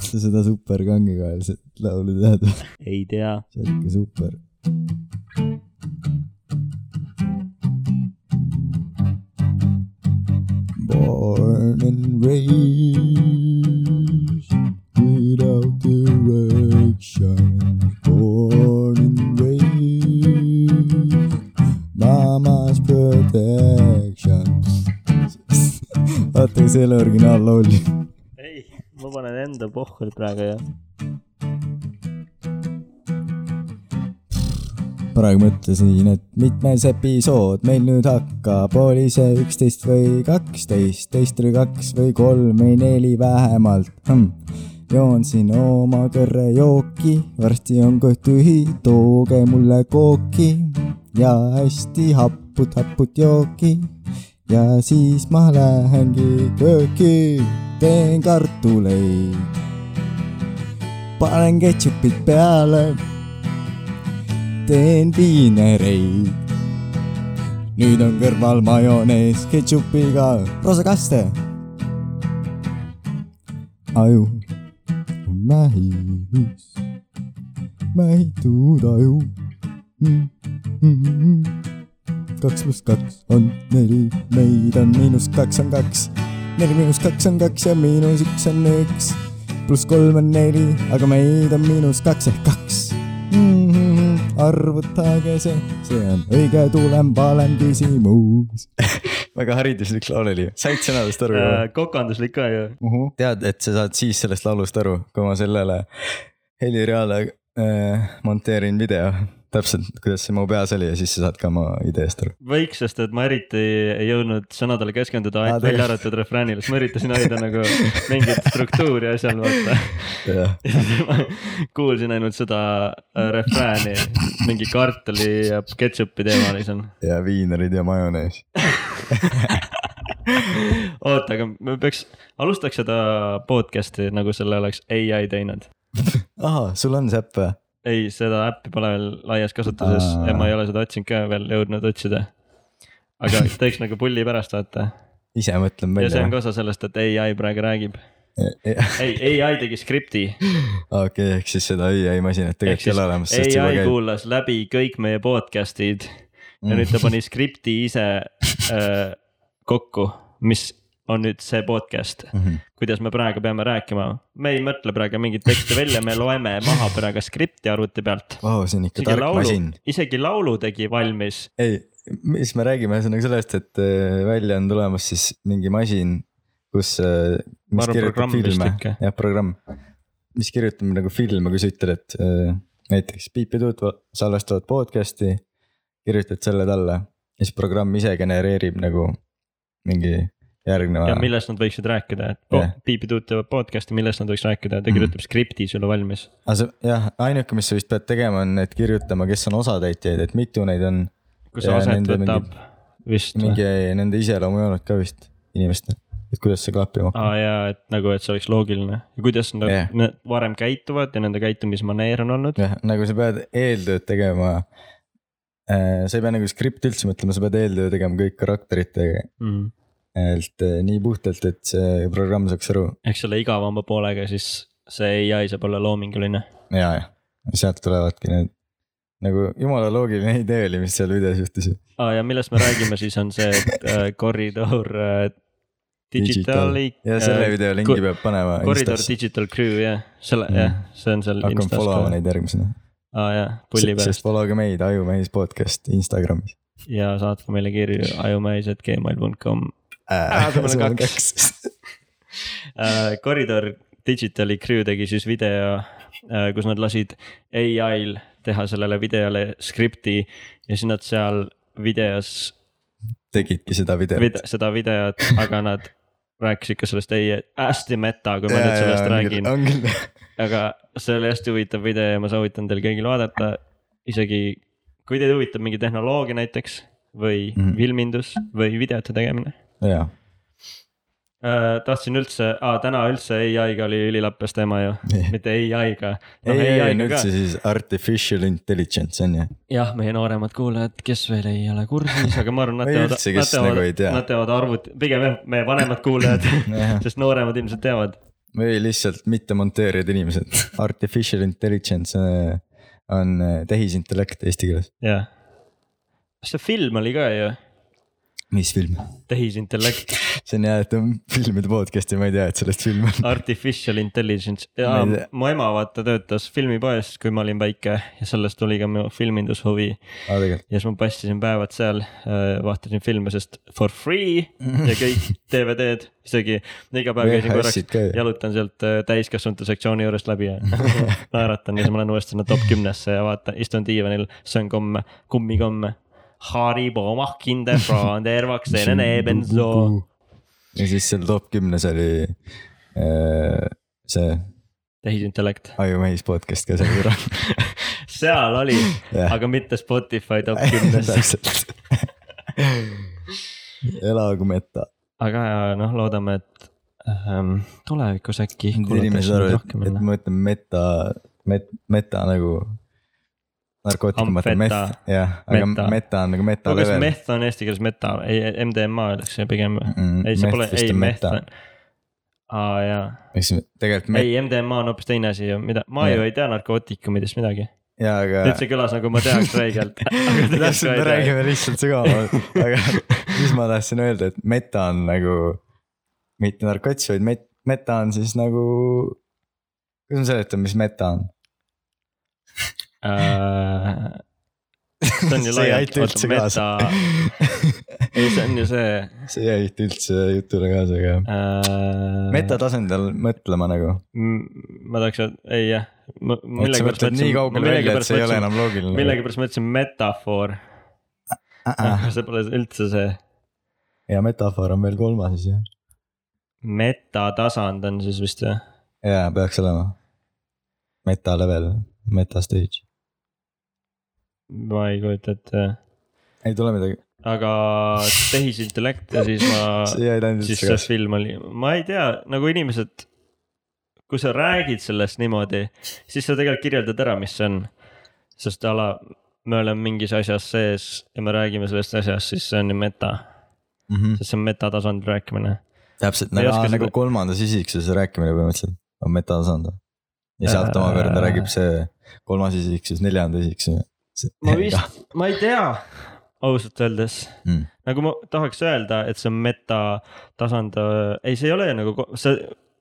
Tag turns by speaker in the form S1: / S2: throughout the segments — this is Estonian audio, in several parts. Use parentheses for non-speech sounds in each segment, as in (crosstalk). S1: sa seda super kangekaelset laulu tead või ?
S2: ei tea .
S1: see on ikka super . Born and raised without direction. Born and raised mama's protection . (laughs) vaata , kas see ei ole originaallaul .
S2: ei , ma panen enda pohvel praegu ja
S1: praegu mõtlesin , et mitmes episood meil nüüd hakkab , oli see üksteist või kaksteist , teist oli kaks või kolm või neli vähemalt hm. . joon siin oma kõrrejooki , varsti on kõht tühi , tooge mulle kooki ja hästi haput , haput jooki . ja siis ma lähengi kööki , teen kartuleid , panen ketšupit peale teen viinereid . nüüd on kõrval majonees ketšupiga roosakaste . aju on mähis , mähitud aju mm . -hmm. kaks pluss kaks on neli , meid on miinus kaks on kaks , neli miinus kaks on kaks ja miinus üks on üks , pluss kolm on neli , aga meid on miinus kaks ehk kaks mm . -hmm. arvutage see , see on õige tulem , valem küsimus .
S3: (laughs) väga hariduslik laul oli , said sõnadest aru
S2: äh,
S3: juba ?.
S2: kokanduslik ka ju .
S3: tead , et sa saad siis sellest laulust aru , kui ma sellele helireale äh, monteerin video . täpselt , kuidas see mu peas oli ja siis sa saad ka oma ideest aru .
S2: võiks , sest et ma eriti ei jõudnud sõnadele keskenduda ,
S1: Aa,
S2: ainult välja arvatud refräänil , sest ma üritasin hoida nagu mingit struktuuri asjal , vaata .
S3: jah ,
S2: ma (laughs) kuulsin ainult seda äh, refrääni , mingi kartuli ja ketšupi teemal siis on . (laughs)
S3: ja viinerid ja majonees .
S2: oota , aga me peaks , alustaks seda podcast'i nagu selle oleks ai teinud .
S3: ahah , sul on see äpp või ?
S2: ei , seda äppi pole veel laias kasutuses
S1: Aa.
S2: ja ma ei ole seda otsinud ka veel jõudnud otsida .
S3: (laughs)
S2: aga teeks nagu pulli pärast , vaata .
S3: ise mõtlen
S2: ja see
S3: välja
S2: on . ka osa sellest , et ai praegu räägib . ei , ai tegi skripti .
S3: okei , ehk siis seda ai masinat
S2: ehk
S3: tegelikult ei
S2: siis
S3: ole olemas , sest juba
S2: ai
S3: käib .
S2: kuulas läbi kõik meie podcast'id ja nüüd
S3: Mm.
S2: ta pani skripti ise
S3: (laughs)
S2: äh, kokku , mis on nüüd see podcast .
S3: Mhm.
S2: kuidas me praegu peame rääkima , me ei mõtle praegu mingit teksti välja , me loeme maha praegu skripti arvuti pealt .
S3: Vau , see on ikka
S2: isegi
S3: tark
S2: laulu
S3: masin .,
S2: isegi laulu tegi valmis ,
S3: ei , mis me räägime , ühesõnaga sellest , et äh, välja on tulemas siis mingi masin , kus ,
S2: Ma
S3: mis
S2: arvan,
S3: kirjutab
S2: programm vist
S3: filme ,
S2: ikka.
S3: jah programm , mis kirjutab nagu filme , kui sa ütled , et äh, näiteks piipidud salvestavad podcast'i , kirjutad selle talle ja siis programm ise genereerib nagu mingi
S2: ja
S3: järgneva ,
S2: millest nad võiksid rääkida , et
S3: Jah. Mhm.
S2: yeah. Piipi Tuut teeb podcast'i , millest nad võiks rääkida , ta kirjutab skripti sulle valmis .
S3: aga sa Ah, jah , ainuke , mis sa vist pead tegema , on need kirjutama , kes on osatäitjaid , et mitu neid on ,
S2: kus see
S3: Ja
S2: aset
S3: nende
S2: võtab vist või ?
S3: mingi nende iseloomujooned ka vist inimestel , et kuidas see klappima hakkab
S2: aa jaa , et nagu , et see oleks loogiline ja kuidas nad
S3: Jah.
S2: yeah. varem käituvad ja nende käitumismaneer on olnud .
S3: jah , nagu sa pead eeltööd tegema . sa ei pea nagu skripti üldse mõtlema , sa pead eeltöö tegema kõik karakteritega ,
S2: Mm.
S3: et eh, nii puhtalt , et see programm saaks aru
S2: eks selle igavama poolega siis see ai saab olla loominguline .
S3: ja , ja sealt tulevadki need nagu jumala loogiline idee oli , mis seal videos juhtus .
S2: aa ja millest me räägime siis on see , et äh, koridor äh, digitali .
S3: ja selle video lingi äh, peab panema .
S2: Äh, koridor digital crew jah , selle
S3: Mm.
S2: mm. jah , see on seal
S3: hakkame follow
S2: ka.
S3: ma neid järgmisena ,
S2: aa jaa , pulli
S3: sest
S2: pärast
S3: follow ge meid , Ajumehis podcast Instagramis .
S2: ja saatke meile kirju ajumäis.gmail.com . Äh.
S3: Äh,
S2: Aa, see on meil kaks. . Äh, koridor digitali crew tegi siis video , kus nad lasid ai-l teha sellele videole skripti ja siis nad seal videos
S3: (laughs) tegidki seda videot .
S2: vid- , seda videot , aga nad rääkisid ka sellest ei , hästi meta , kui ma ja, nüüd sellest ja, räägin ,
S3: Äh, on küll , (laughs)
S2: aga see oli hästi huvitav video ja ma soovitan teil kõigil vaadata . isegi kui teid huvitab mingi tehnoloogia näiteks või mm.
S3: Mhm.
S2: filmindus või videote tegemine .
S3: jaa
S2: Äh, tahtsin üldse , täna üldse ai-ga oli ülilappes teema ju , mitte ai-ga .
S3: ei , ei , ei on
S2: Noh, ka
S3: üldse siis artificial intelligence on ju ,
S2: jah , meie nooremad kuulajad , kes veel ei ole kursis , aga ma arvan , nad
S3: Või
S2: teavad ,
S3: üldse,
S2: nad
S3: kes
S2: teavad
S3: nagu ei tea. ,
S2: nad teavad arvuti , pigem jah , meie vanemad kuulajad
S3: (laughs)
S2: (laughs)
S3: Jah. ,
S2: sest nooremad ilmselt teavad .
S3: või lihtsalt mitte monteerijad inimesed , artificial intelligence äh, on äh, tehisintellekt eesti keeles .
S2: jah . kas see film oli ka ju ,
S3: mis film ?
S2: tehisintellekt ,
S3: see on jah , et on filmide podcast ja ma ei tea , et sellest filmi
S2: (laughs)
S3: on .
S2: artificial intelligence
S3: Ma
S2: ja
S3: ei tea.
S2: mu ema vaata töötas filmipoes , kui ma olin väike ja sellest tuli ka minu filmindushuvi .
S3: aa , tegelikult .
S2: ja siis ma passisin päevad seal , vaatasin filme , sest for free ja
S3: (laughs)
S2: kõik DVD-d , isegi iga päev käisin korraks
S3: VHS-id ka ju .
S2: jalutan sealt äh, täiskasvanute sektsiooni juurest
S3: (laughs)
S2: läbi ja naeratan ja siis ma lähen uuesti sinna top kümnesse ja vaatan , istun diivanil , söön komme , kummikomme . Haribo mahkinde fraander
S3: (laughs)
S2: vaktseene nebenso .
S3: ja siis seal top kümnes oli äh, see
S2: tehisintellekt ,
S3: Ajumehis podcast ka seal kõrval .
S2: seal oli ,
S3: Jah.
S2: aga mitte Spotify top
S3: (laughs)
S2: kümnes .
S3: täpselt . elagu meta .
S2: aga ja noh , loodame , et ähm, tulevikus äkki .
S3: inimesed arvavad , et ma ütlen meta , met- , meta nagu . narkootikum , vaata meth
S2: Amfeta. ,
S3: jah , aga
S2: Meta.
S3: meta on nagu meta
S2: kas
S3: level . Mm,
S2: meth on eesti keeles meta , ei MDMA öeldakse pigem või ? ei , see pole , ei meth
S3: meta
S2: on ., aa jaa
S3: eks tegelikult me- ,
S2: ei , MDMA on hoopis teine asi ju , mida , ma ju
S3: Jah.
S2: ei tea narkootikumidest midagi .
S3: jaa , aga
S2: nüüd . see (laughs) kõlas nagu ma teaks
S3: (laughs)
S2: räigelt .
S3: täpselt , me räägime lihtsalt
S2: (laughs)
S3: sügavamalt , aga mis ma tahtsin öelda , et meta on nagu mitte narkots , vaid met- , meta on siis nagu . kuidas ma seletan , mis meta on ?
S2: Äh, see on ju
S3: (laughs) See ei
S2: laialt ,
S3: aita
S2: oota
S3: üldse
S2: meta
S3: kaasa. , (laughs)
S2: ei see on ju see
S3: see ei aita üldse jutule kaasa , aga . meta . tasandil Mm. mõtlema nagu .
S2: äh, ma tahaks öelda , ei jah .
S3: et sa mõtled nii kaugele välja , et see ei ole enam loogiline . Ah,
S2: millegipärast ma ütlesin metafoor , aga (laughs) see pole üldse see
S3: ja metafoor on veel kolmas siis jah .
S2: metatasand on siis vist jah ,
S3: jaa , peaks olema . Meta level , meta stage ,
S2: ma ei kujuta ette ,
S3: ei tule midagi ,
S2: aga tehisintellekt ja siis ma
S3: (laughs) see jäi ainult
S2: Ah, siis
S3: üldse
S2: see
S3: kaasa .
S2: film oli , ma ei tea , nagu inimesed , kui sa räägid sellest niimoodi , siis sa tegelikult kirjeldad ära , mis see on . sest a la me oleme mingis asjas sees ja me räägime sellest asjast , siis see on ju meta , sest see on metatasandil rääkimine .
S3: Mhm. täpselt
S2: Ma ei
S3: nagu,
S2: oska
S3: aa, nagu
S2: seda-
S3: kolmandas isiksus rääkimine põhimõtteliselt on metatasand . ja sealt
S2: Äh.
S3: omakorda räägib see kolmas isiksus , neljanda isiksus .
S2: ma vist , ma ei tea , ausalt öeldes
S3: Mm.
S2: nagu ma tahaks öelda , et see on metatasand , ei , see ei ole ju nagu ko- see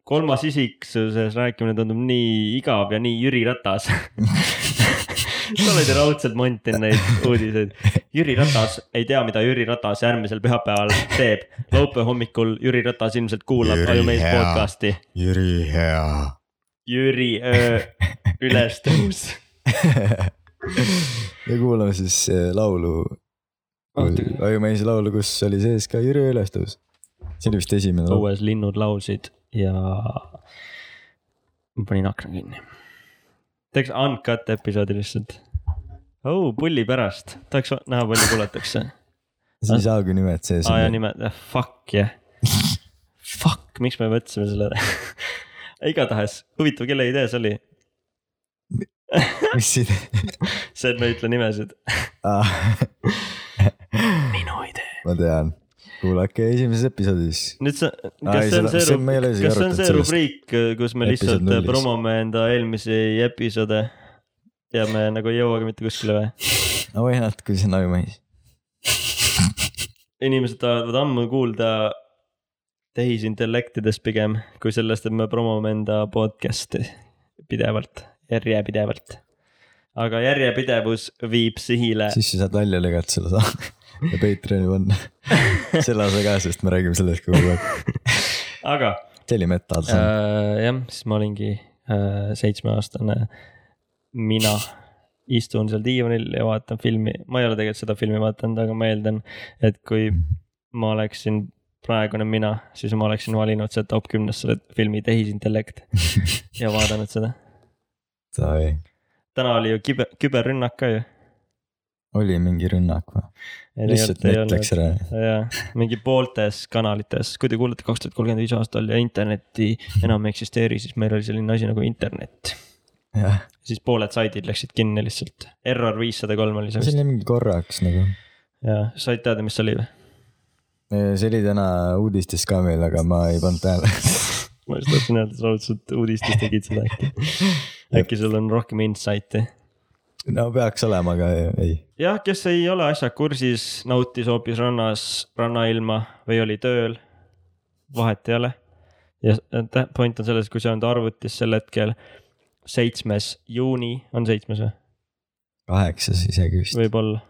S2: kolmas isiksuses rääkimine tundub nii igav ja nii Jüri Ratas .
S3: (laughs)
S2: sa oled ju raudselt montinud neid uudiseid . Jüri Ratas ei tea , mida Jüri Ratas järgmisel pühapäeval teeb . laupäeva hommikul Jüri Ratas ilmselt kuulab
S3: Jüri
S2: Ajumees
S3: hea.
S2: podcast'i .
S3: Jüri hea . (laughs)
S2: Jüri öö, ülestõus .
S3: ja kuulame siis eh, laulu , Ajumeise laulu , kus oli sees ka Jüri ülestõus . see oli vist esimene laul .
S2: õues linnud laulsid ja ma panin akna kinni . teeks uncut episoodi lihtsalt . oh , pulli pärast , tahaks va- näha , palju kuulatakse .
S3: sa ei saagi nimed sees
S2: aa ja
S3: olla .
S2: nime , fuck jah . Fuck , miks me võtsime selle ? (laughs) igatahes , huvitav , kelle idee see oli ?
S3: mis siin ,
S2: see , et me ei ütle nimesid . minu idee .
S3: ma tean , kuulake esimeses episoodis .
S2: nüüd sa ,
S3: Aa,
S2: kas
S3: ei,
S2: see on
S3: seda-
S2: see
S3: see- me ei ole
S2: rub- ,
S3: isegi
S2: kas see on
S3: arutanud
S2: see
S3: sellest.
S2: rubriik , kus me
S3: Episood
S2: lihtsalt
S3: nullis.
S2: promome enda eelmisi episoode ja me nagu ei jõuagi mitte kuskile või ?
S3: no või nad , kui see on Ajumeis .
S2: inimesed tahavad ammu kuulda tehisintellektidest pigem , kui sellest , et me promome enda podcast'i pidevalt , järjepidevalt . aga järjepidevus viib sihile ,
S3: siis sa saad välja lõigata selle osa ja Patreon'i
S2: (laughs)
S3: panna selle osa ka , sest me räägime sellest kogu aeg .
S2: aga
S3: see oli metal
S2: äh,
S3: song .
S2: jah , siis ma olingi äh, seitsmeaastane mina . istun seal diivanil ja vaatan filmi , ma ei ole tegelikult seda filmi vaadanud , aga ma eeldan , et kui
S3: Mhm.
S2: ma oleksin praegune mina , siis ma oleksin valinud see top kümnes selle filmi
S3: (laughs)
S2: Tehisintellekt ja vaadanud seda . täna oli ju küber , küberrünnak ka ju .
S3: oli mingi rünnak või ? lihtsalt net läks ära .
S2: jaa , mingi pooltes kanalites , kui te kuulete kaks tuhat kolmkümmend viis aastal ja internetti enam ei eksisteeri , siis meil oli selline asi nagu internet .
S3: jah ,
S2: siis pooled saidid läksid kinni lihtsalt , error viissada kolm oli see
S3: see
S2: vist
S3: oli mingi korraks nagu .
S2: ja said teada , mis see oli või ?
S3: see oli täna uudistes ka meil , aga ma ei pannud tähele . (laughs)
S2: ma just tahtsin öelda, sa raudselt uudistes tegid seda äkki . äkki sul on rohkem insight'i .
S3: no peaks olema , aga ei .
S2: jah , kes ei ole asjaga kursis , nautis hoopis rannas rannailma või oli tööl , vahet ei ole . ja tä- point on selles , kui see on ta arvutis sel hetkel , seitsmes juuni on seitsmes või ,
S3: kaheksas isegi vist .
S2: võib-olla .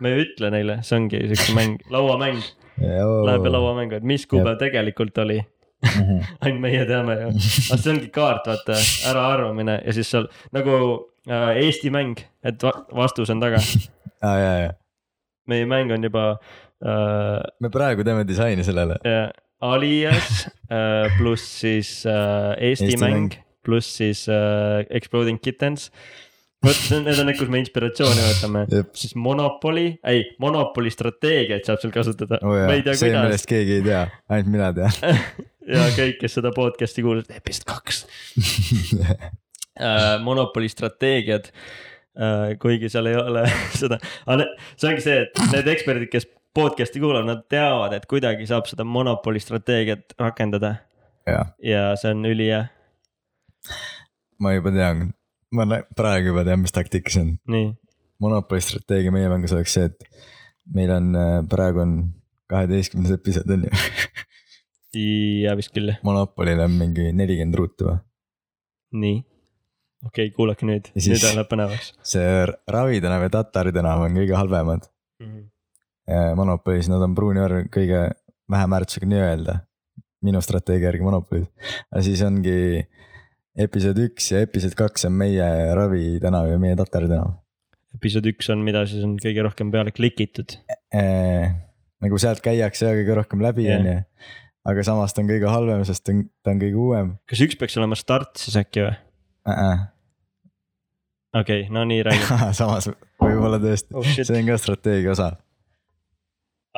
S2: ma ei ütle neile , see ongi siukse mäng , lauamäng , läheb ja
S3: laua .
S2: lauamängu , et mis kuupäev tegelikult oli , ainult meie teame ju . aga see ongi kaart , vaata , äraarvamine ja siis seal nagu äh, Eesti mäng , et va vastus on taga .
S3: aa , (laughs) jaa , jaa .
S2: meie mäng on juba äh,
S3: me praegu teeme disaini sellele .
S2: (laughs) äh, Alias äh, pluss siis äh, Eesti,
S3: Eesti
S2: Eesti mäng,
S3: mäng.
S2: mäng. pluss siis äh, Exploding Kittens . vot see on- need on need , kus me inspiratsiooni võtame ,
S3: Jep.
S2: siis Monopoli , ei Monopoli strateegiaid saab seal kasutada
S3: oo
S2: ma
S3: Oh jaa ,
S2: ei tea
S3: see ,
S2: kuidas
S3: millest keegi ei tea , ainult mina tean . (laughs)
S2: ja kõik , kes seda podcast'i kuulavad , episood kaks äh, monopoli strateegiad äh, . kuigi seal ei ole (laughs) seda , aga ne- see ongi see , et need eksperdid , kes podcast'i kuulavad , nad teavad , et kuidagi saab seda monopoli strateegiat rakendada
S3: jah ,
S2: ja see on ülihea ,
S3: ma juba tean , ma nä- praegu juba tean , mis taktika see on .
S2: nii .
S3: monopoli strateegia meie mängus oleks see , et meil on , praegu on kaheteistkümnes episood on ju . (laughs)
S2: ja vist küll ,
S3: monopolil on mingi nelikümmend ruutu või ?
S2: nii . okei okay, , kuulake nüüd ,
S3: Ja siis-
S2: nüüd läheb põnevaks
S3: see R- Ravi tänav ja Tatari tänav on kõige halvemad
S2: mm . -hmm.
S3: eh, monopolis , nad on pruuni värv kõige vähem väärtusega nii-öelda . minu strateegia järgi monopolis , aga siis ongi episood üks ja episood kaks on meie Ravi tänav ja meie Tatari tänav
S2: episood üks on , mida siis on kõige rohkem peale klikitud .
S3: eh, . nagu sealt käiakse ja kõige rohkem läbi
S2: Jah.
S3: on ju , aga samas ta on kõige halvem , sest ta on, ta on kõige uuem
S2: kas üks peaks olema start siis äkki või ?
S3: uh .
S2: okei okay, , no nii räägi .
S3: -uh. (laughs) samas võib-olla tõesti
S2: Oh
S3: oh, ,
S2: shit.
S3: see on ka strateegia osa .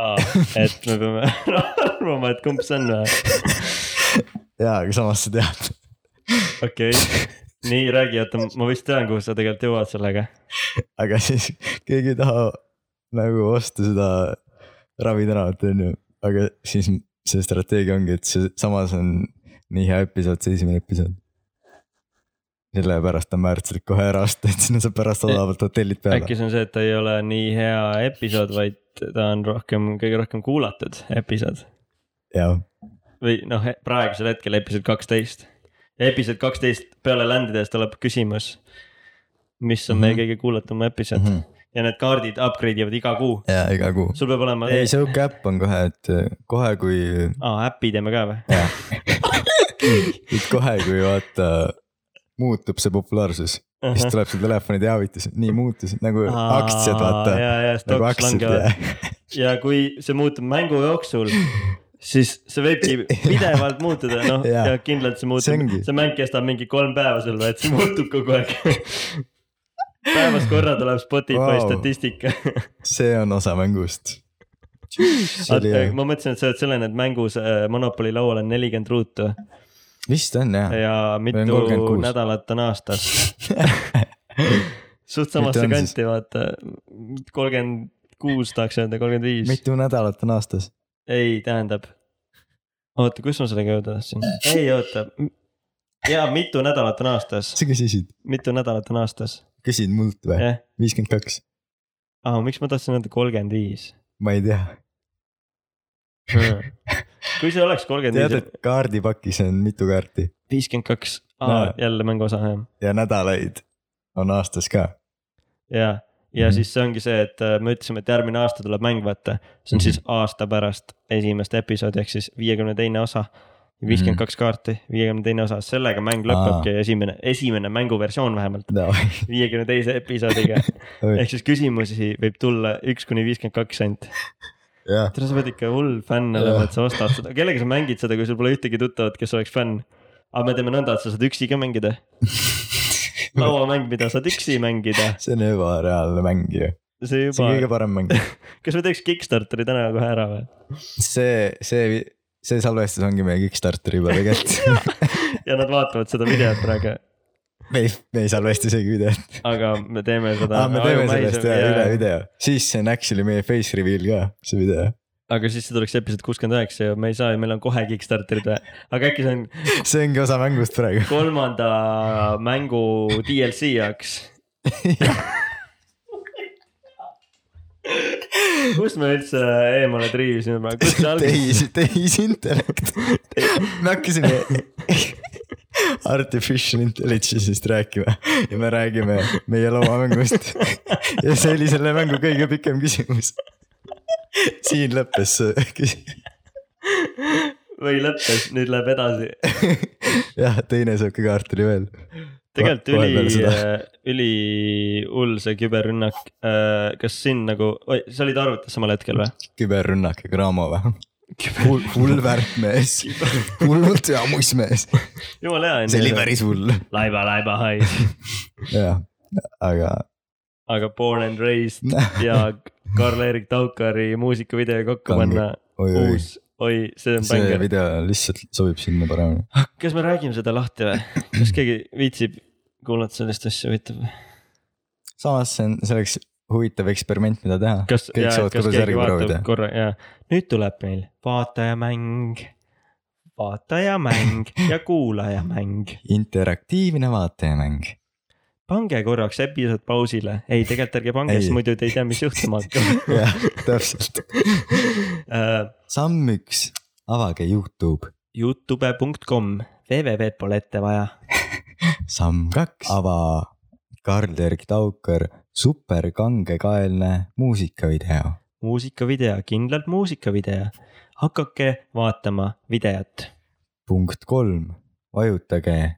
S2: Aa, et me peame
S3: (laughs)
S2: arvama , et kumb see on või ?
S3: jaa , aga samas sa tead ,
S2: okei okay. , nii räägi , oota , ma vist tean , kuhu sa tegelikult jõuad sellega .
S3: aga (laughs) siis keegi ei taha nagu osta seda Ravi tänavat , on ju , aga siis see strateegia ongi , et see samas on nii hea episood , see esimene episood . sellepärast on väärtuslik kohe ära osta , et sinna saab pärast odavalt hotellid peale .
S2: äkki see on see , et ta ei ole nii hea episood , vaid ta on rohkem , kõige rohkem kuulatud episood
S3: jah ,
S2: või noh , praegusel hetkel episood kaksteist . episood kaksteist peale ländides tuleb küsimus , mis on meie
S3: Mhm.
S2: kõige kuulatum episood mm
S3: Mhm.
S2: -hmm. ja need kaardid upgrade ivad iga kuu .
S3: ja iga kuu .
S2: sul peab olema ,
S3: ei , sihuke äpp on kohe , et eh, kohe , kui ,
S2: aa äpi teeme ka või ?
S3: et kohe , kui vaata muutub see populaarsus , siis tuleb see telefoni teavitus , nii muutus nagu aktsiad , vaata .
S2: ja , ja
S3: nagu
S2: stoks
S3: aktsiad
S2: langevad
S3: jah .
S2: ja kui see muutub mängu jooksul , siis see võibki pidevalt muutuda , noh
S3: Jaa.
S2: ja kindlalt see
S3: See
S2: muutub
S3: ongi. ,
S2: see mäng kestab mingi kolm päeva sul või , et see muutub kogu aeg . päevas korra tuleb Spotify
S3: Vau.
S2: wow. statistika .
S3: see on osa mängust .
S2: ma mõtlesin , et sa oled selline , et mängus äh, Monopoli laual on nelikümmend ruutu
S3: vist on jah ,
S2: ja mitu
S3: 36.
S2: nädalat on aastas
S3: (laughs)
S2: suht samasse
S3: on siis?
S2: kanti , vaata kolmkümmend kuus tahaks öelda , kolmkümmend viis .
S3: mitu nädalat on aastas ?
S2: ei , tähendab . oota , kus ma sellega jõuda tahtsin ? ei oota . ja mitu nädalat on aastas ,
S3: sa küsisid ,
S2: mitu nädalat on aastas ,
S3: küsid mult või ?
S2: jah .
S3: viiskümmend kaks ,
S2: aa , miks ma tahtsin öelda kolmkümmend viis ?
S3: ma ei tea .
S2: kui see oleks kolmkümmend
S3: tead ,
S2: viis ,
S3: et kaardipakis on mitu kaarti
S2: viiskümmend kaks ,
S3: Näe.
S2: aa jälle mängu osa jah .
S3: ja nädalaid on aastas ka .
S2: ja , ja
S3: Mhm.
S2: siis see ongi see , et äh, me ütlesime , et järgmine aasta tuleb mäng vaata . see
S3: Mhm.
S2: on siis aasta pärast esimest episoodi ehk siis viiekümne teine osa .
S3: Mhm.
S2: viiskümmend kaks kaarti , viiekümne teine osa , sellega mäng lõpebki , esimene , esimene mänguversioon vähemalt , viiekümne teise
S3: (laughs)
S2: episoodiga . ehk siis küsimusi võib tulla üks kuni viiskümmend kaks senti .
S3: jah ,
S2: tead , sa pead ikka hull fänn olema , et sa ostad seda , kellega sa mängid seda , kui sul pole ühtegi tuttavat , kes oleks fänn . aga me teeme nõnda , et sa saad üksi ka
S3: (laughs)
S2: mängida . lauamäng , mida saad üksi mängida ,
S3: see on ebareaalne mäng ju ,
S2: see
S3: see on
S2: juba ,
S3: kõige parem mäng .
S2: kas me teeks Kickstarteri täna kohe ära või ?
S3: see , see , see salvestus ongi meie Kickstarteri juba
S2: (laughs)
S3: tegelikult .
S2: ja nad vaatavad seda videot praegu ,
S3: me ei , me ei salvesta isegi videot . Ah,
S2: aga me teeme seda .
S3: aa , me teeme sellest jah , üle video , siis see on actually meie face reveal ka , see video .
S2: aga siis see tuleks episood kuuskümmend üheksa ja me ei saa ja meil on kohe Kickstarterid või , aga äkki see on
S3: see ongi osa mängust praegu .
S2: kolmanda mängu DLC jaoks . kust me üldse eemale triivisime , kus see algas ,
S3: tehis , tehisintellekt . (laughs) me hakkasime artificial intelligence'ist rääkima ja me räägime meie loomamängust . ja see oli selle mängu kõige pikem küsimus . siin lõppes see küsimus .
S2: või lõppes , nüüd läheb edasi .
S3: jah , teine sihuke kaart oli veel .
S2: tegelikult
S3: Kohe peale
S2: üli
S3: seda. ,
S2: üli hull see küberrünnak . kas siin nagu , oi , sa olid arvutis samal hetkel või ?
S3: küberrünnak ja kraama või ? hull , hull värkmees , hullult hea muistmees ,
S2: jumala hea .
S3: see oli päris hull ,
S2: laiba , laiba hais .
S3: jah , aga
S2: aga Born and Raised ja Karl-Erik Taukari muusikavideo kokku
S3: Kange.
S2: panna ,
S3: oi-oi ,
S2: uus , oi , see on
S3: see
S2: bäng .
S3: video lihtsalt sobib sinna paremini .
S2: kas me räägime seda lahti või ? kas keegi viitsib kuulata sellist asja , huvitav .
S3: samas see on , see oleks huvitav eksperiment , mida teha .
S2: kas ,
S3: kõik
S2: kas
S3: saavad kodus
S2: keegi
S3: järgi proovida
S2: vaatab . korra ja nüüd tuleb meil vaatajamäng , vaatajamäng ja kuulajamäng .
S3: interaktiivne vaatajamäng .
S2: pange korraks episood pausile , ei tegelikult ärge pange ,
S3: Ei.
S2: sest muidu te ei tea , mis
S3: (laughs)
S2: juhtuma hakkab .
S3: (laughs)
S2: Äh,
S3: jah , täpselt . samm üks , avage Youtube .
S2: Youtube.com , www-d pole ette vaja
S3: samm kaks , ava Karl-Erik Taukar superkangekaelne muusikavideo .
S2: muusikavideo , kindlalt muusikavideo . hakake vaatama videot .
S3: punkt kolm , vajutage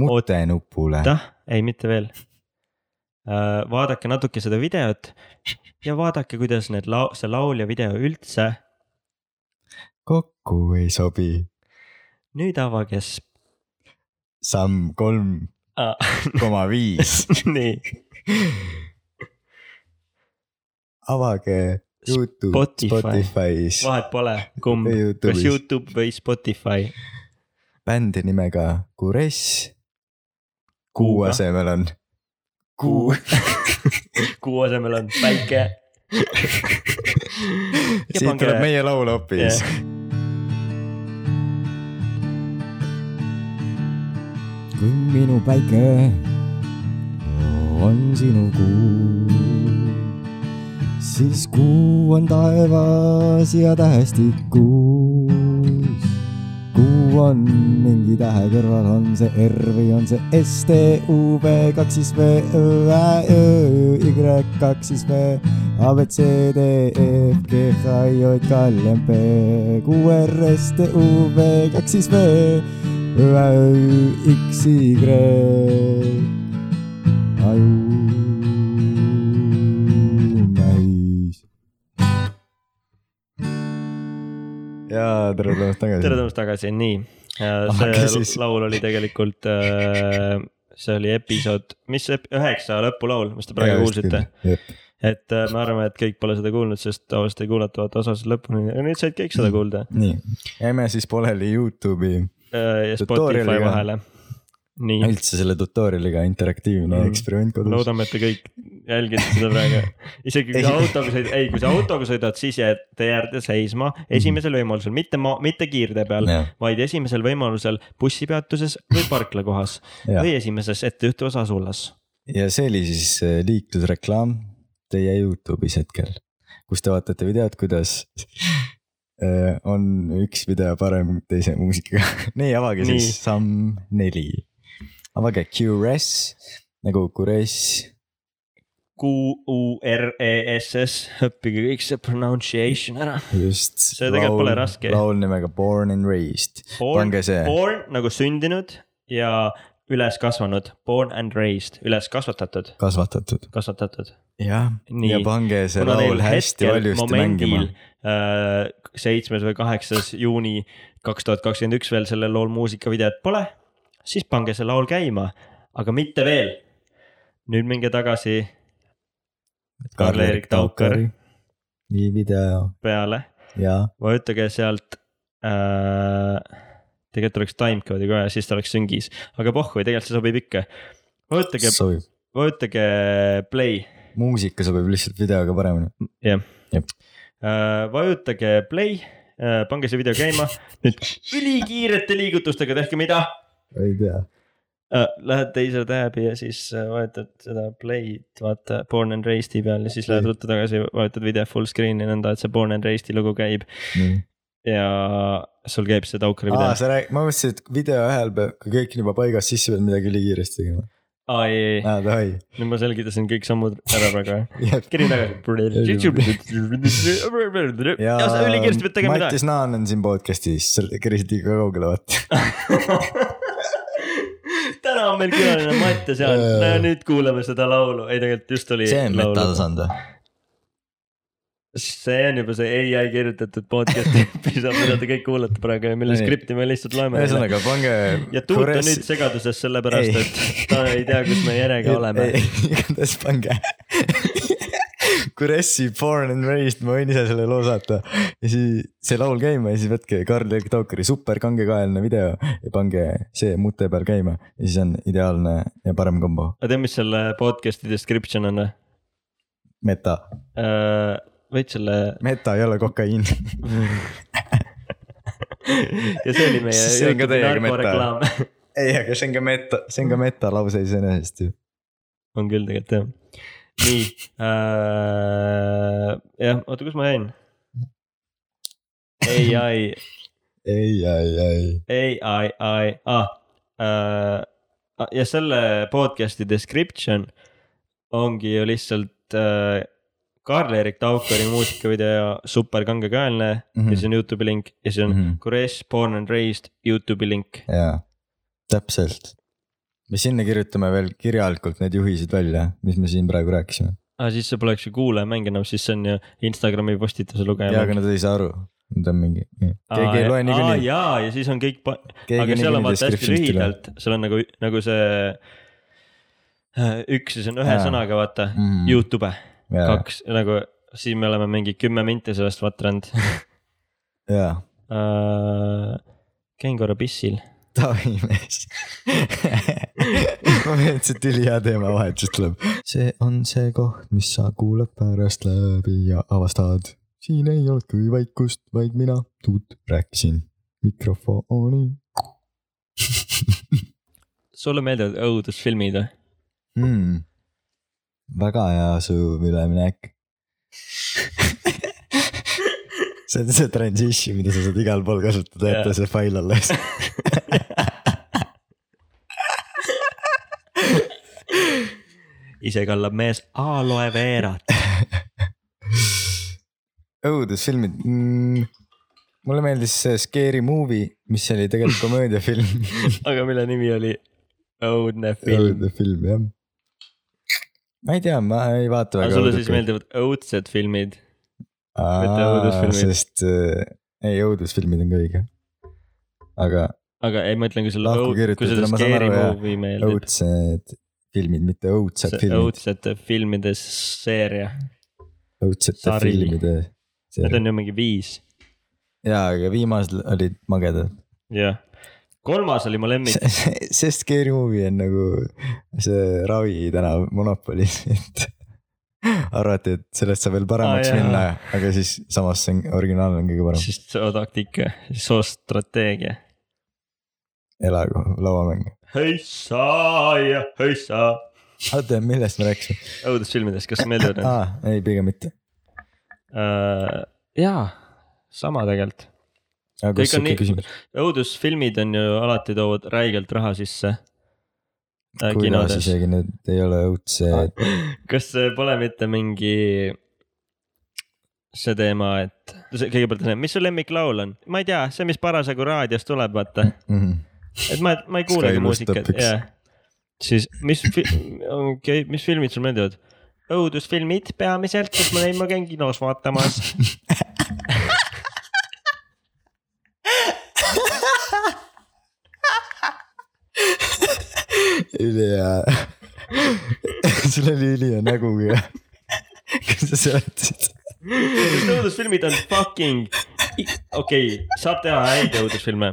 S3: mutenupule .
S2: oota , ei mitte veel . vaadake natuke seda videot ja vaadake , kuidas need lau- , see laulja video üldse .
S3: kokku ei sobi .
S2: nüüd avage s-
S3: samm kolm
S2: ah, .
S3: koma viis ,
S2: (laughs) nii ,
S3: avage Youtube ,
S2: Spotify.
S3: Spotify's
S2: vahet pole , kumb
S3: Ja ,
S2: kas
S3: Youtube'is.
S2: Youtube või Spotify .
S3: bändi nimega Kuress . kuu
S2: Kuuga.
S3: asemel on .
S2: Kuu. kuu asemel on päike . Ja
S3: siit
S2: pange-
S3: tuleb meie laul hoopis .
S1: kui minu päike on sinu kuu , siis kuu on taevas ja tähestikus . kuu on mingi tähe kõrval , on see R või on see S , T , U , V , kaks siis V , Ö , Ä , Ö , Y , kaks siis V , A , B , C , D , E , F , G , H , I , J , K , L , M , P , Q , R , S , T , U , V , kaks siis V XY ajumähis .
S3: ja tere tulemast tagasi .
S2: tere tulemast tagasi , nii .
S3: Aga
S2: see
S3: siis-
S2: laul oli tegelikult , see oli episood , mis ep- üheksa lõpulaul , mis te praegu kuulsite .. et äh, me arvame , et kõik pole seda kuulnud , sest tavaliselt ei kuulata vaata osasid lõpuni , aga nüüd said kõik seda
S3: Mm.
S2: kuulda
S3: nii , jäime siis pooleli Youtube'i ,
S2: äh, ja Spotify
S3: Tutorial'iga.
S2: vahele . nii ,
S3: üldse selle tutorial'iga interaktiivne
S2: Mm.
S3: eksperiment kodus .
S2: loodame , et te kõik jälgite seda praegu . isegi kui
S3: (laughs) Ei.
S2: sa autoga sõidad , ei , kui sa autoga sõidad , siis jääd tee äärde seisma
S3: Mhm.
S2: esimesel võimalusel , mitte maa , mitte kiirtee peal , vaid esimesel võimalusel bussipeatuses või parklakohas
S3: (laughs) Jah.
S2: või esimeses ettejuhtuvas asulas .
S3: ja see oli siis äh, liiklusreklaam teie Youtube'is hetkel , kus te vaatate videot , kuidas äh, on üks video parem teise muusikaga . (laughs) nii , avage nii.
S2: Nii.
S3: siis samm neli . avage QRS nagu QRS ,
S2: Q U R E S S , õppige kõik see pronunciation ära .
S3: just .
S2: See tegelikult pole raske.
S3: laul nimega Born and Raised ,
S2: Born
S3: pange see ,
S2: born nagu sündinud ja üles kasvanud , born and raised , üles kasvatatud ,
S3: kasvatatud .
S2: kasvatatud .
S3: jah ,
S2: Nii.
S3: ja pange see laul hästi valjusti mängima .
S2: äh, seitsmes või kaheksas juuni kaks tuhat kakskümmend üks veel sellel lool muusikavideot pole , siis pange see laul käima , aga mitte veel . nüüd minge tagasi Karl-Erik Taukar
S3: nii video
S2: peale ,
S3: ja
S2: vajutage sealt äh, . tegelikult oleks timecode'i ka ja siis ta oleks süngis , aga pohhu , tegelikult see sobib ikka . vajutage ,
S3: sobib .
S2: vajutage play
S3: muusika sobib lihtsalt videoga paremini .
S2: jah
S3: Jep. .
S2: Äh, vajutage play , pange see video käima , nüüd ülikiirete liigutustega tehke mida
S1: ei tea .
S2: Äh, Lähed teise tab'i ja siis äh, vajutad seda play'd , vaata Born and Raised'i peal ja siis lähed ruttu tagasi , vajutad video full screen'i nõnda , et see Born and Raised'i lugu käib ja sul käib see Taukari
S3: aa ,
S2: video .
S3: sa räägid , ma mõtlesin , et video ühel peab , kui kõik on juba paigas , siis sa pead midagi ülikiiresti tegema .
S2: aa ei , ei ,
S3: aa , davai ,
S2: nüüd ma selgitasin kõik sammud ära praegu .
S3: jääb .
S2: kiri tagasi . ja sa ülikiiresti pead tegema midagi .
S3: Mattis Naan on siin podcast'is , sa kerisid ikka kaugele , vaata .
S2: täna on meil külaline Mattias Jaan , no ja nüüd kuulame seda laulu , ei tegelikult just oli .
S3: see on metalsand või ?
S2: see on juba see ai kirjutatud podcast'i (laughs) episood , mida te kõik kuulate praegu ja mille
S3: Nii.
S2: skripti me lihtsalt loeme .
S3: ühesõnaga , pange .
S2: ja Tuut on nüüd segaduses sellepärast ,
S3: Ei.
S2: et ta ei tea , kus me järjega oleme .
S3: igatahes pange Kuressi Born and Raised , ma võin ise selle loo saata ja siis see laul käima ja siis võtke Karl Erik Taukari super kangekaelne video ja pange see mute peal käima ja siis on ideaalne ja parem kombo ,
S2: aga tead , mis selle podcast'i description on või ?
S3: meta .
S2: võid selle
S3: meta ei ole kokaiin .
S2: ja see oli meie .
S3: (laughs) See on ka täiega meta.
S2: reklaam .
S3: ei , aga see on ka meta , see on ka meta lause iseenesest ju .
S2: (laughs) on küll tegelikult jah . nii äh, , jah , oota , kus ma jäin ? ei , ei ,
S3: ei , ei , ei .
S2: ei , ai , ai , ah äh, . ja selle podcast'i description ongi ju lihtsalt äh, Karl-Erik Taukari muusikavideo super kangekaelne mm -hmm.
S3: Mhm.
S2: ja siis on Youtube'i link ja siis on mm -hmm. Kures Born and Raised Youtube'i link .
S3: jaa , täpselt . me sinna kirjutame veel kirjalikult need juhised välja , mis me siin praegu rääkisime .
S2: aga Ah, siis see poleks ju kuulajamäng enam , siis see on ju Instagrami postituse
S3: jaa ,
S2: lugeja .
S3: aga nad ei saa aru , nad on mingi , keegi ei loe niikuinii .
S2: Ah, jaa , ja siis on kõik , aga seal on vaata hästi lühidalt , seal on nagu , nagu see äh, üks siis on ühe
S3: Jaa.
S2: sõnaga , vaata
S3: Mhm.
S2: Youtube ,
S3: jaa ,
S2: kaks nagu siin me oleme mingi kümme minti sellest
S3: (laughs)
S2: vatranud
S3: jaa ,
S2: uh, . käin korra pissil .
S3: Tavi mees (laughs) ma mõtlesin , et ülihea teemavahetus tuleb . see on see koht , mis sa kuulad pärast läbi ja avastad . siin ei olnud kui vaikust , vaid mina , Tuut , rääkisin mikrofoni (laughs)
S2: sulle meeldivad õudusfilmid või ?
S3: mm. . väga hea sujuv (laughs) üleminek . see on see transition , mida sa saad igal pool kasutada , jätta see fail alles .
S2: ise kallab mees aloe
S3: (laughs)
S2: veerat .
S3: õudusfilmid mm. . mulle meeldis see Scary Movie , mis oli tegelikult (laughs) komöödiafilm .
S2: aga mille nimi oli õudne film .
S3: õudne film jah . ma ei tea , ma ei vaata
S2: aga
S3: väga .
S2: sulle siis meeldivad õudsed filmid ? mitte õudusfilmid.
S3: sest äh, ei , õudusfilmid on ka õige . aga
S2: aga ei , ma ütlen , kui sulle
S3: Lahku
S2: õud- , kui
S3: kirjutatuna,
S2: sulle
S3: ma saan
S2: Scary
S3: aru, jah.
S2: Movie meeldib .
S3: õudsed filmid , mitte õudsed
S2: see
S3: filmid ,
S2: õudsete filmide seeria ,
S3: õudsete
S2: sari.
S3: filmide .
S2: need on ju mingi viis ,
S3: jaa , aga viimased olid magedad . (laughs)
S2: jah . kolmas oli mu lemmik ,
S3: see Scary Movie on nagu see Ravi tänav Monopolis , (laughs) et arvati , et sellest saab veel paremaks
S2: Aa,
S3: ah,
S2: jaa.
S3: minna , aga siis samas see on , originaalne on kõige parem .
S2: sest soo taktika , soo strateegia .
S3: elagu lauamäng .
S2: hei saa ja hei saa ,
S3: Ah, oota , millest me rääkisime ?
S2: õudusfilmides , kas (laughs) meeldivad need
S3: aa , ei , pigem mitte .
S2: uh, ? jaa , sama tegelikult .
S3: aga kus
S2: Kõik on
S3: sihuke
S2: nii-
S3: küsimus ?
S2: õudusfilmid on ju alati toovad räigelt raha sisse äh, .
S3: kuidas
S2: kinodes ,
S3: isegi need ei ole õudsed ,
S2: (laughs) kas see pole mitte mingi see teema , et see- kõigepealt , mis su lemmiklaul on ? ma ei tea , see , mis parasjagu raadiost tuleb , vaata
S3: Mhm.
S2: et ma , ma ei kuulegi
S3: Sky
S2: muusikat
S3: lustab üks. ,
S2: jah . siis mis , okei , mis filmid sul meeldivad ? õudusfilmid peamiselt , sest ma neid ma käin kinos vaatamas . (laughs)
S3: ülihea . sul oli ülihea nägu ja kas sa seletasid ?
S2: õudusfilmid on fucking , okei , saab teha häid õudusfilme .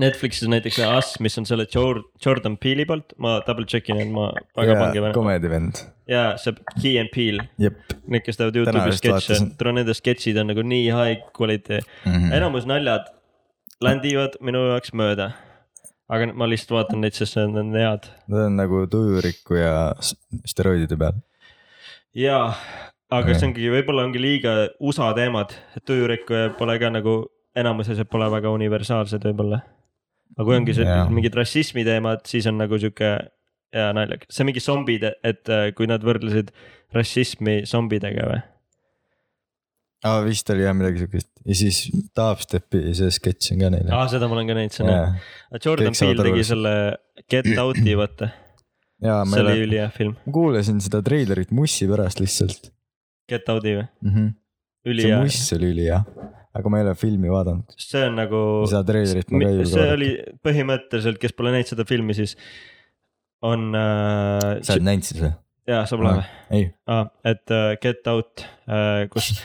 S2: Netflixis on näiteks see Us , mis on selle Jor- Jordan Peele'i poolt , ma double check in , et ma väga pange peale .
S3: komedi vend ,
S2: ja see Key and Peele ,
S3: jep
S2: need , kes teevad
S3: Täna
S2: Youtube'is
S3: just
S2: sketše
S3: vaatasin. ,
S2: tule nende sketšid on nagu nii high quality ,
S3: mm . -hmm.
S2: enamus naljad landivad minu jaoks mööda . aga ma lihtsalt vaatan neid , sest need on head
S3: Nad on nagu tujuriku ja s- steroidide peal .
S2: jaa , aga
S3: Aga-
S2: see ongi , võib-olla ongi liiga USA teemad , et tujurikkuja pole ka nagu enamus asjad pole väga universaalsed võib-olla . aga kui ongi see
S3: Jaa.
S2: mingid rassismi teemad , siis on nagu sihuke hea naljakas , see mingi zombid , et äh, kui nad võrdlesid rassismi zombidega või ?
S3: aa , vist oli jah midagi siukest ja siis Dubstepi see sketš on ka neil .
S2: aa , Ah, seda ma olen ka näinud , see on hea .
S3: jaa ,
S2: Jordan
S3: Kõik saavad
S2: Peele
S3: aru
S2: tegi
S3: lihtsalt.
S2: selle Get Out'i , vaata ,
S3: jaa , ma
S2: see oli
S3: ei ole ,
S2: ülihea film ,
S3: ma kuulasin seda treilerit mussi pärast lihtsalt
S2: Get Out'i või ?
S3: mm . -hmm. see
S2: ülihea ,
S3: muss oli ülihea , aga ma ei ole filmi vaadanud .
S2: see on nagu .
S3: seda treilerit ma ka ei
S2: Mi-
S3: julge
S2: see
S3: vaadata .
S2: oli põhimõtteliselt , kes pole näinud seda filmi , siis on
S3: sa
S2: äh, ,
S3: oled näinud seda ?
S2: jaa , sa pole või ?
S3: ei ,
S2: ah, . et äh, Get Out äh, , kus
S3: (laughs)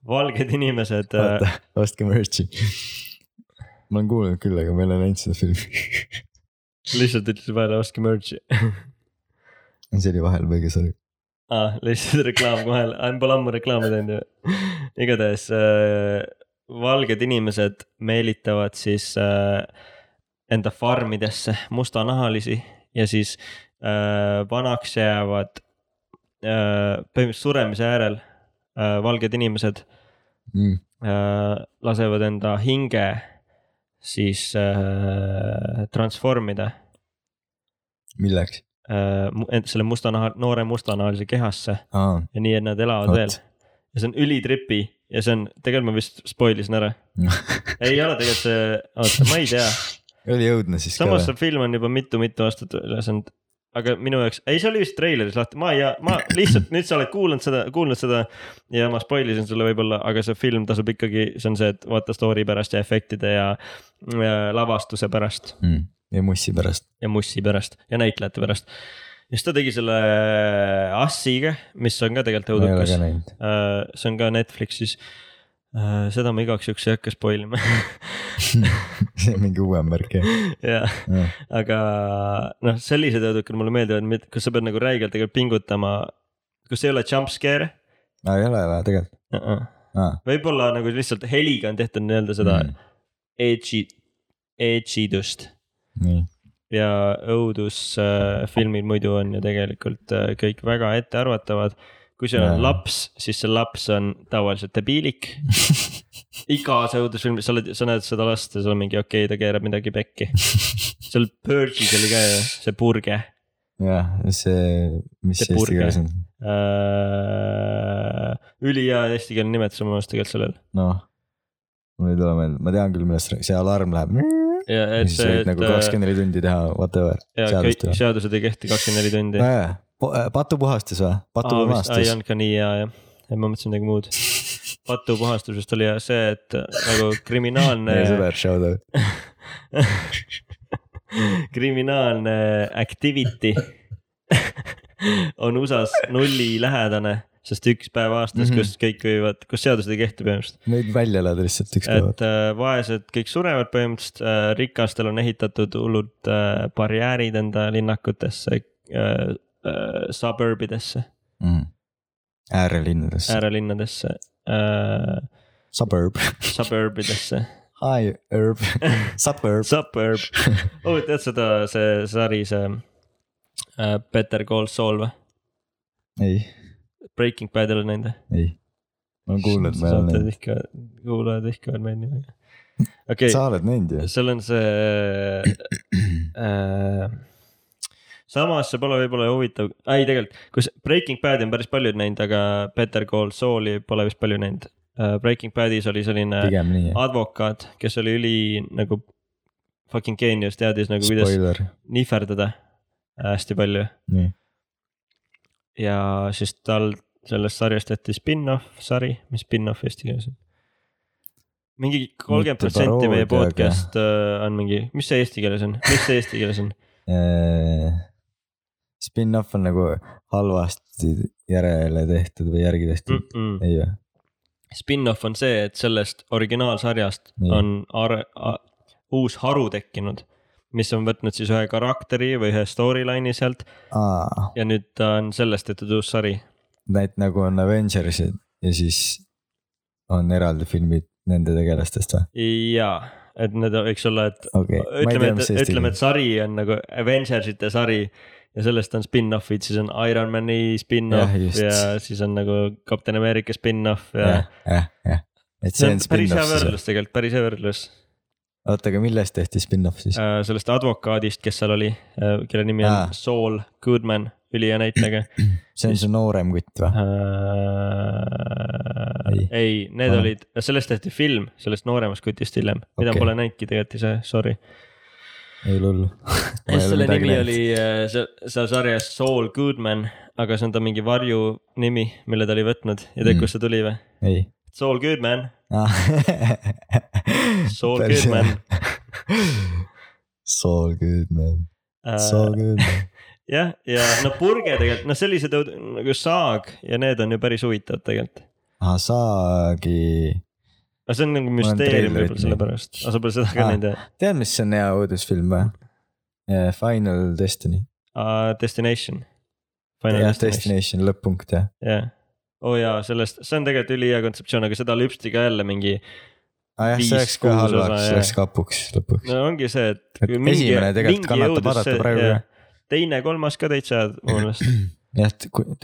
S2: valged inimesed äh,
S3: vaata , ostke merch'i . ma olen kuulnud küll , aga ma ei ole näinud seda filmi . (laughs)
S2: lihtsalt ütlesid vahele ostke merch'i
S3: see oli vahel väike sõnum .
S2: ah, . lihtsalt reklaam vahel , pole ammu reklaami teinud ju . igatahes äh, valged inimesed meelitavad siis äh, enda farmidesse mustanahalisi ja siis äh, vanaks jäävad äh, põhimõtteliselt suremise järel äh, valged inimesed
S3: Mm,
S2: äh, lasevad enda hinge siis äh, transformida
S3: milleks ?
S2: äh, mu- en- selle mustanaha , noore mustanahalise kehasse
S3: aa ,
S2: ja nii , et nad elavad
S3: Vot.
S2: veel . ja see on ülitripi ja see on , tegelikult ma vist spoilisin
S3: (laughs)
S2: ära
S3: Noh. .
S2: ei ole tegelikult see , oota , ma ei
S3: (laughs)
S2: tea ,
S3: oli õudne siis
S2: samas
S3: ka
S2: see film on juba mitu-mitu aastat üles olnud . aga minu jaoks , ei , see oli vist treileris lahti , ma ja ma lihtsalt nüüd sa oled kuulnud seda , kuulnud seda ja ma spoilisin sulle võib-olla , aga see film tasub ikkagi , see on see , et vaata story pärast ja efektide ja, ja lavastuse pärast
S3: või mm. ? ja mussi pärast .
S2: ja Mussi pärast ja näitlejate pärast . ja siis ta tegi selle Assiga , mis on ka tegelikult
S3: ma ei ole
S2: õudukas
S3: ka . näinud . (laughs)
S2: Äh, see on ka Netflixis . seda ma igaks juhuks ei hakka spoil (laughs) ima
S3: see on mingi uuem värk jah .
S2: ja , aga noh , sellised õudukad mulle meeldivad , kus sa pead nagu räigelt tegelikult pingutama , kus ei ole jump scare
S3: aa , ei ole või tegelikult ?
S2: uh . -uh.
S3: aa ,
S2: võib-olla nagu lihtsalt heliga on tehtud nii-öelda seda
S3: Mm.
S2: mm. edgy , edgy dust
S3: nii .
S2: ja õudusfilmid muidu on ju tegelikult äh, kõik väga ettearvatavad . kui sul on
S3: Jaa.
S2: laps , siis see laps on tavaliselt
S3: (laughs)
S2: debiilik . igas õudusfilmis sa oled , sa näed seda last ja sul on mingi okei okay, , ta keerab midagi pekki . seal Purge'is oli ka ju see purge
S3: jah , see , mis see
S2: See
S3: eesti
S2: purge.
S3: keeles on ?
S2: äh, . ülihea eestikeelne nimetus on minu meelest tegelikult sellel .
S3: noh , mul ei tule meelde , ma tean küll , millest see alarm läheb .
S2: ja
S3: ja
S2: et
S3: siis
S2: see ,
S3: võid
S2: et
S3: nagu
S2: äh,
S3: kakskümmend neli tundi teha whatever .
S2: ja
S3: seadust
S2: kõik
S3: teha.
S2: seadused ei kehti kakskümmend neli tundi .
S3: patupuhastus äh, või ?
S2: Aa, vist- aa, ei
S3: patupuhastus .
S2: olnud ka nii hea jah , ma mõtlesin midagi muud . patupuhastusest oli hea see , et nagu kriminaalne
S3: meie , sõber , shout out .
S2: (laughs) kriminaalne activity (laughs) on USA-s nullilähedane , sest üks päev aastas mm ,
S3: Mhm.
S2: -hmm. kus kõik võivad , kus seadused ei kehti põhimõtteliselt ,
S3: võid välja elada lihtsalt ükspäev .
S2: et äh, vaesed kõik surevad põhimõtteliselt äh, , rikastel on ehitatud hullud äh, barjäärid enda linnakutesse äh, , äh, suburb idesse ,
S3: Mhm. äärelinnades .
S2: äärelinnadesse äh, ,
S3: Suburb . (laughs)
S2: suburb idesse
S3: High herb .
S2: (laughs)
S3: Suburb .
S2: Suburb ,
S3: (laughs)
S2: oh tead seda , see sari , see äh, Better Call Saul või ?
S3: ei ,
S2: Breaking Bad ei ole näinud või ?
S3: ei . ma olen kuulnud , ma ei ole
S2: saated
S3: näinud .
S2: ihka , kuulajad ihkavad meid nii väga . okei
S3: sa
S2: okay, ,
S3: oled näinud ju ?
S2: seal on see äh, . samas see pole võib-olla huvitav , ei tegelikult , kus Breaking Badi on päris paljud näinud , aga Better Call Sauli pole vist palju näinud äh, . Breaking Badis oli selline
S3: pigem nii .
S2: advokaat , kes oli üli nagu fucking geenius , teadis nagu kuidas
S3: Spoiler .
S2: nihverdada äh, hästi palju
S3: nii .
S2: ja siis tal sellest sarjast tehti spin-off sari , mis spin-off eesti keeles on ? mingi kolmkümmend protsenti meie
S3: paroodia, aga-
S2: podcast äh, on mingi , mis see eesti keeles on , mis see eesti keeles on ?
S3: Äh, Spin-off on nagu halvasti järele tehtud või järgi tehtud , (laughs)
S2: Mm.
S3: ei vä ?
S2: Spin-off on see , et sellest originaalsarjast
S3: Nii.
S2: on are- , uus haru tekkinud , mis on võtnud siis ühe karakteri või ühe storyline'i sealt
S3: aa ,
S2: ja nüüd ta on sellest tehtud uus sari .
S3: näit nagu on Avengersid ja siis on eraldi filmid nende tegelastest või ?
S2: ja , et need võiks olla , et
S3: okei okay. , ma ei
S2: ütleme
S3: tea ,, mis
S2: et
S3: eesti
S2: ütleme , et sari on nagu Avengersite sari ja sellest on spin-off'id , siis on Ironman'i spin-off
S3: Jah,
S2: ja,
S3: just.
S2: ja siis on nagu Kapten Ameerika spin-off ja,
S3: jah
S2: ja. ,
S3: jah , jah , et
S2: see
S3: see
S2: on
S3: on
S2: päris hea
S3: spin-off siis .
S2: võrdlus tegelikult , päris hea võrdlus
S3: oota , aga millest tehti spin-off siis ?
S2: Äh, sellest advokaadist , kes seal oli , kelle nimi on
S3: Aa.
S2: Saul Goodman , ülihea näitleja .
S3: see on see noorem kutt või ?
S2: ei,
S3: Ei.
S2: ei , need
S3: Aa.
S2: olid , sellest tehti film , sellest nooremast kutist hiljem , mida
S3: Okei.
S2: pole näinudki tegelikult ise , sorry .
S3: ei
S2: (laughs)
S3: hullu .
S2: selle nimi oli äh, se- seal sarjas Saul Goodman , aga see on ta mingi varjunimi , mille ta oli võtnud ja tead ,
S3: Mm.
S2: kust see tuli või ?
S3: ei .
S2: Saul Goodman , (laughs) Saul
S3: Päris hea.
S2: Goodman .
S3: (laughs) Saul Goodman , Saul Goodman .
S2: Äh, jah , ja no purge tegelikult , noh , sellised õud- nagu saag ja need on ju päris huvitavad tegelikult .
S3: ahah , Ah, Saagi .
S2: aga see on nagu
S3: olen
S2: müsteerium
S3: treilerit
S2: võib-olla
S3: näinud. Ah.
S2: sellepärast , aga sa pole seda ka
S3: Aa.
S2: näinud jah ?
S3: tead , mis on hea õudusfilm või ? Final Destiny .
S2: Ah, Destination .
S3: jah , Destination lõpp-punkt jah .
S2: jah , oo jaa , sellest , see on tegelikult ülihea kontseptsioon , aga seda lüpsti ka jälle mingi ,
S3: aa Ah, jah ,
S2: Viis,
S3: see läks ka
S2: kuus
S3: halvaks
S2: osa, , jah.
S3: läks kapuks lõpuks .
S2: no ongi see , et .
S3: Et esimene tegelikult kannatab vaadata praegu ka. .
S2: teine , kolmas ka täitsa
S3: (clears throat)
S2: head mu meelest .
S3: jah ,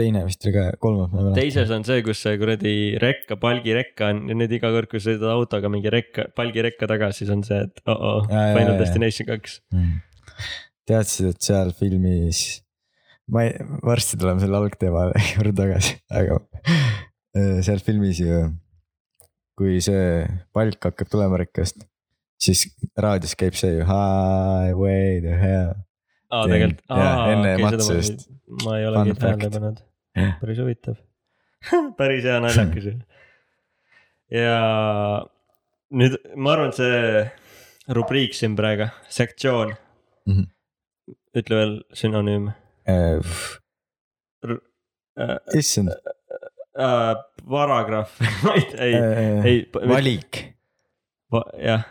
S3: teine vist oli ka , kolmas ma ei mäleta .
S2: teises on see , kus see kuradi rekka , palgirekka on ja nüüd iga kord , kui sõidad autoga mingi rekka , palgirekka taga , siis on see , et oh-oh ,
S3: Jaa, jaa,
S2: Final
S3: jaa.
S2: Destination kaks .
S3: Mm. teadsid , et seal filmis , ma ei , varsti tuleme selle algteema (laughs) juurde tagasi , aga äh, seal filmis ju , kui see palk hakkab tulema rikkast , siis raadios käib see ju highway to hell .
S2: aa ,
S3: Teen-
S2: tegelikult .
S3: jaa, enne matsu eest. .
S2: ma ei
S3: Fun
S2: olegi tähele
S3: fact.
S2: pannud ,
S3: Jah.
S2: päris huvitav . (laughs) päris hea naljakas ju . ja nüüd ma arvan , et see rubriik siin praegu , sektsioon
S3: Mhm. .
S2: ütle veel sünonüüm . R- äh,
S3: issand ,
S2: äh, paragrahv , (laughs) ei ,
S3: äh,
S2: ei .
S3: valik ,
S2: jah ,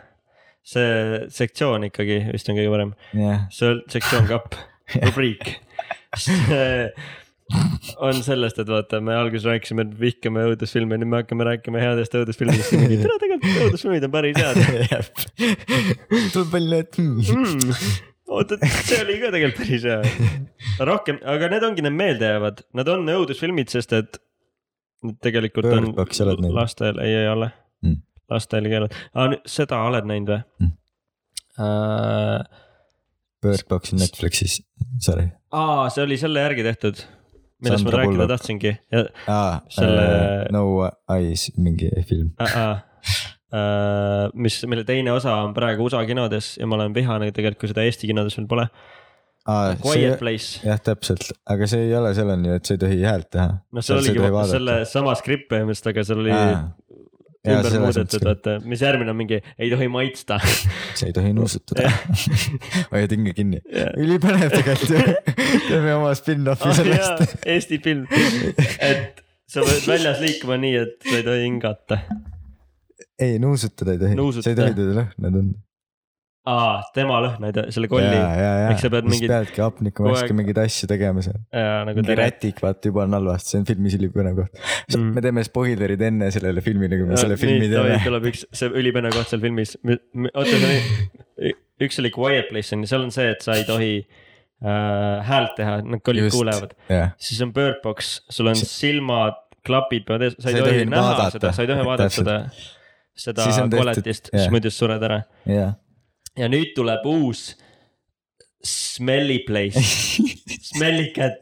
S2: see sektsioon ikkagi vist on kõige parem ,
S3: jah ,
S2: see on sektsioon kapp , rubriik . see on sellest , et vaata , me alguses rääkisime , et vihkame õudusfilme , nüüd me hakkame rääkima headest õudusfilmidest ja mingi , tere , tegelikult õudusfilmid on
S3: (laughs)
S2: päris head
S3: tuleb välja , et mm.
S2: mm. . (laughs) oota , see oli ka tegelikult päris hea .
S3: (laughs)
S2: rohkem , aga need ongi need meeldejäävad , nad on õudusfilmid , sest et nad tegelikult on
S3: Bird Box oled näinud?
S2: lastel , ei , ei ole
S3: Mm.
S2: mm. . lastel ei ole , seda oled näinud või
S3: Mm.
S2: mm. ?
S3: Bird Box on Netflixis , sorry .
S2: aa , see oli selle järgi tehtud , millest
S3: Sandra
S2: ma rääkida
S3: Bullock.
S2: tahtsingi ja
S3: aa ,
S2: Selle-
S3: Ah, äh, No Eyes mingi film ,
S2: äh, , äh, äh, mis , mille teine osa on praegu USA kinodes ja ma olen vihane tegelikult , kui seda Eesti kinodes veel pole .
S3: aa , Ah, Äh, see
S2: Quiet Place .
S3: jah , täpselt , aga see ei ole selleni , et sa ei tohi häält teha .
S2: noh , seal oligi vaata selle sama skript põhimõtteliselt , aga seal oli
S3: Aa. Jaa,
S2: ümber
S3: selles
S2: muudetud ,
S3: mõttes
S2: vaata , mis järgmine on mingi ei tohi
S3: (laughs)
S2: maitsta .
S3: sa ei tohi nuusutada . (laughs) hoiad hinge kinni . (laughs)
S2: Jah.
S3: ülipõnev tegelikult ju ,
S2: (laughs)
S3: teeme oma spin-off'i sellest .
S2: Ah, Eesti film , et sa pead väljas liikuma nii , et sa ei tohi hingata .
S3: ei , nuusutada ei tohi ,
S2: Nuusutada.
S3: sa ei tohi teda lõhna tunda .
S2: aa , tema lõhnaid , selle
S3: ja ,
S2: kolli
S3: ja , ja ,
S2: Miks sa pead
S3: siis
S2: mingit-
S3: peadki hapnikku
S2: kogu
S3: vastu
S2: aeg-
S3: mingeid asju tegema seal .
S2: ja nagu
S3: mingi
S2: tere .
S3: rätik , vaata juba on halvasti , see on filmis ülipõnev koht .
S2: Mm.
S3: me teeme spoilerid enne sellele filmile , kui me selle filmi teeme
S2: teeme .. tuleb üks , see ülipene koht seal filmis , oota , see oli , üks oli Quiet Place on ju , seal on see , et sa ei tohi äh, häält teha , nad kollid
S3: Just.
S2: kuulevad .
S3: jah ,
S2: siis on Bird Box , sul on silmad , klapid peavad ees , sa ei tohi
S3: nagu
S2: näha
S3: vaadata.
S2: seda , sa ei tohi vaadata
S3: Täpselt.
S2: seda , seda
S3: Siis on tehtud,
S2: koletist ,
S3: jah.
S2: siis muidu sa sured ära .
S3: jah .
S2: ja nüüd tuleb uus
S3: (laughs)
S2: Smelly Place , Smelly Cat ,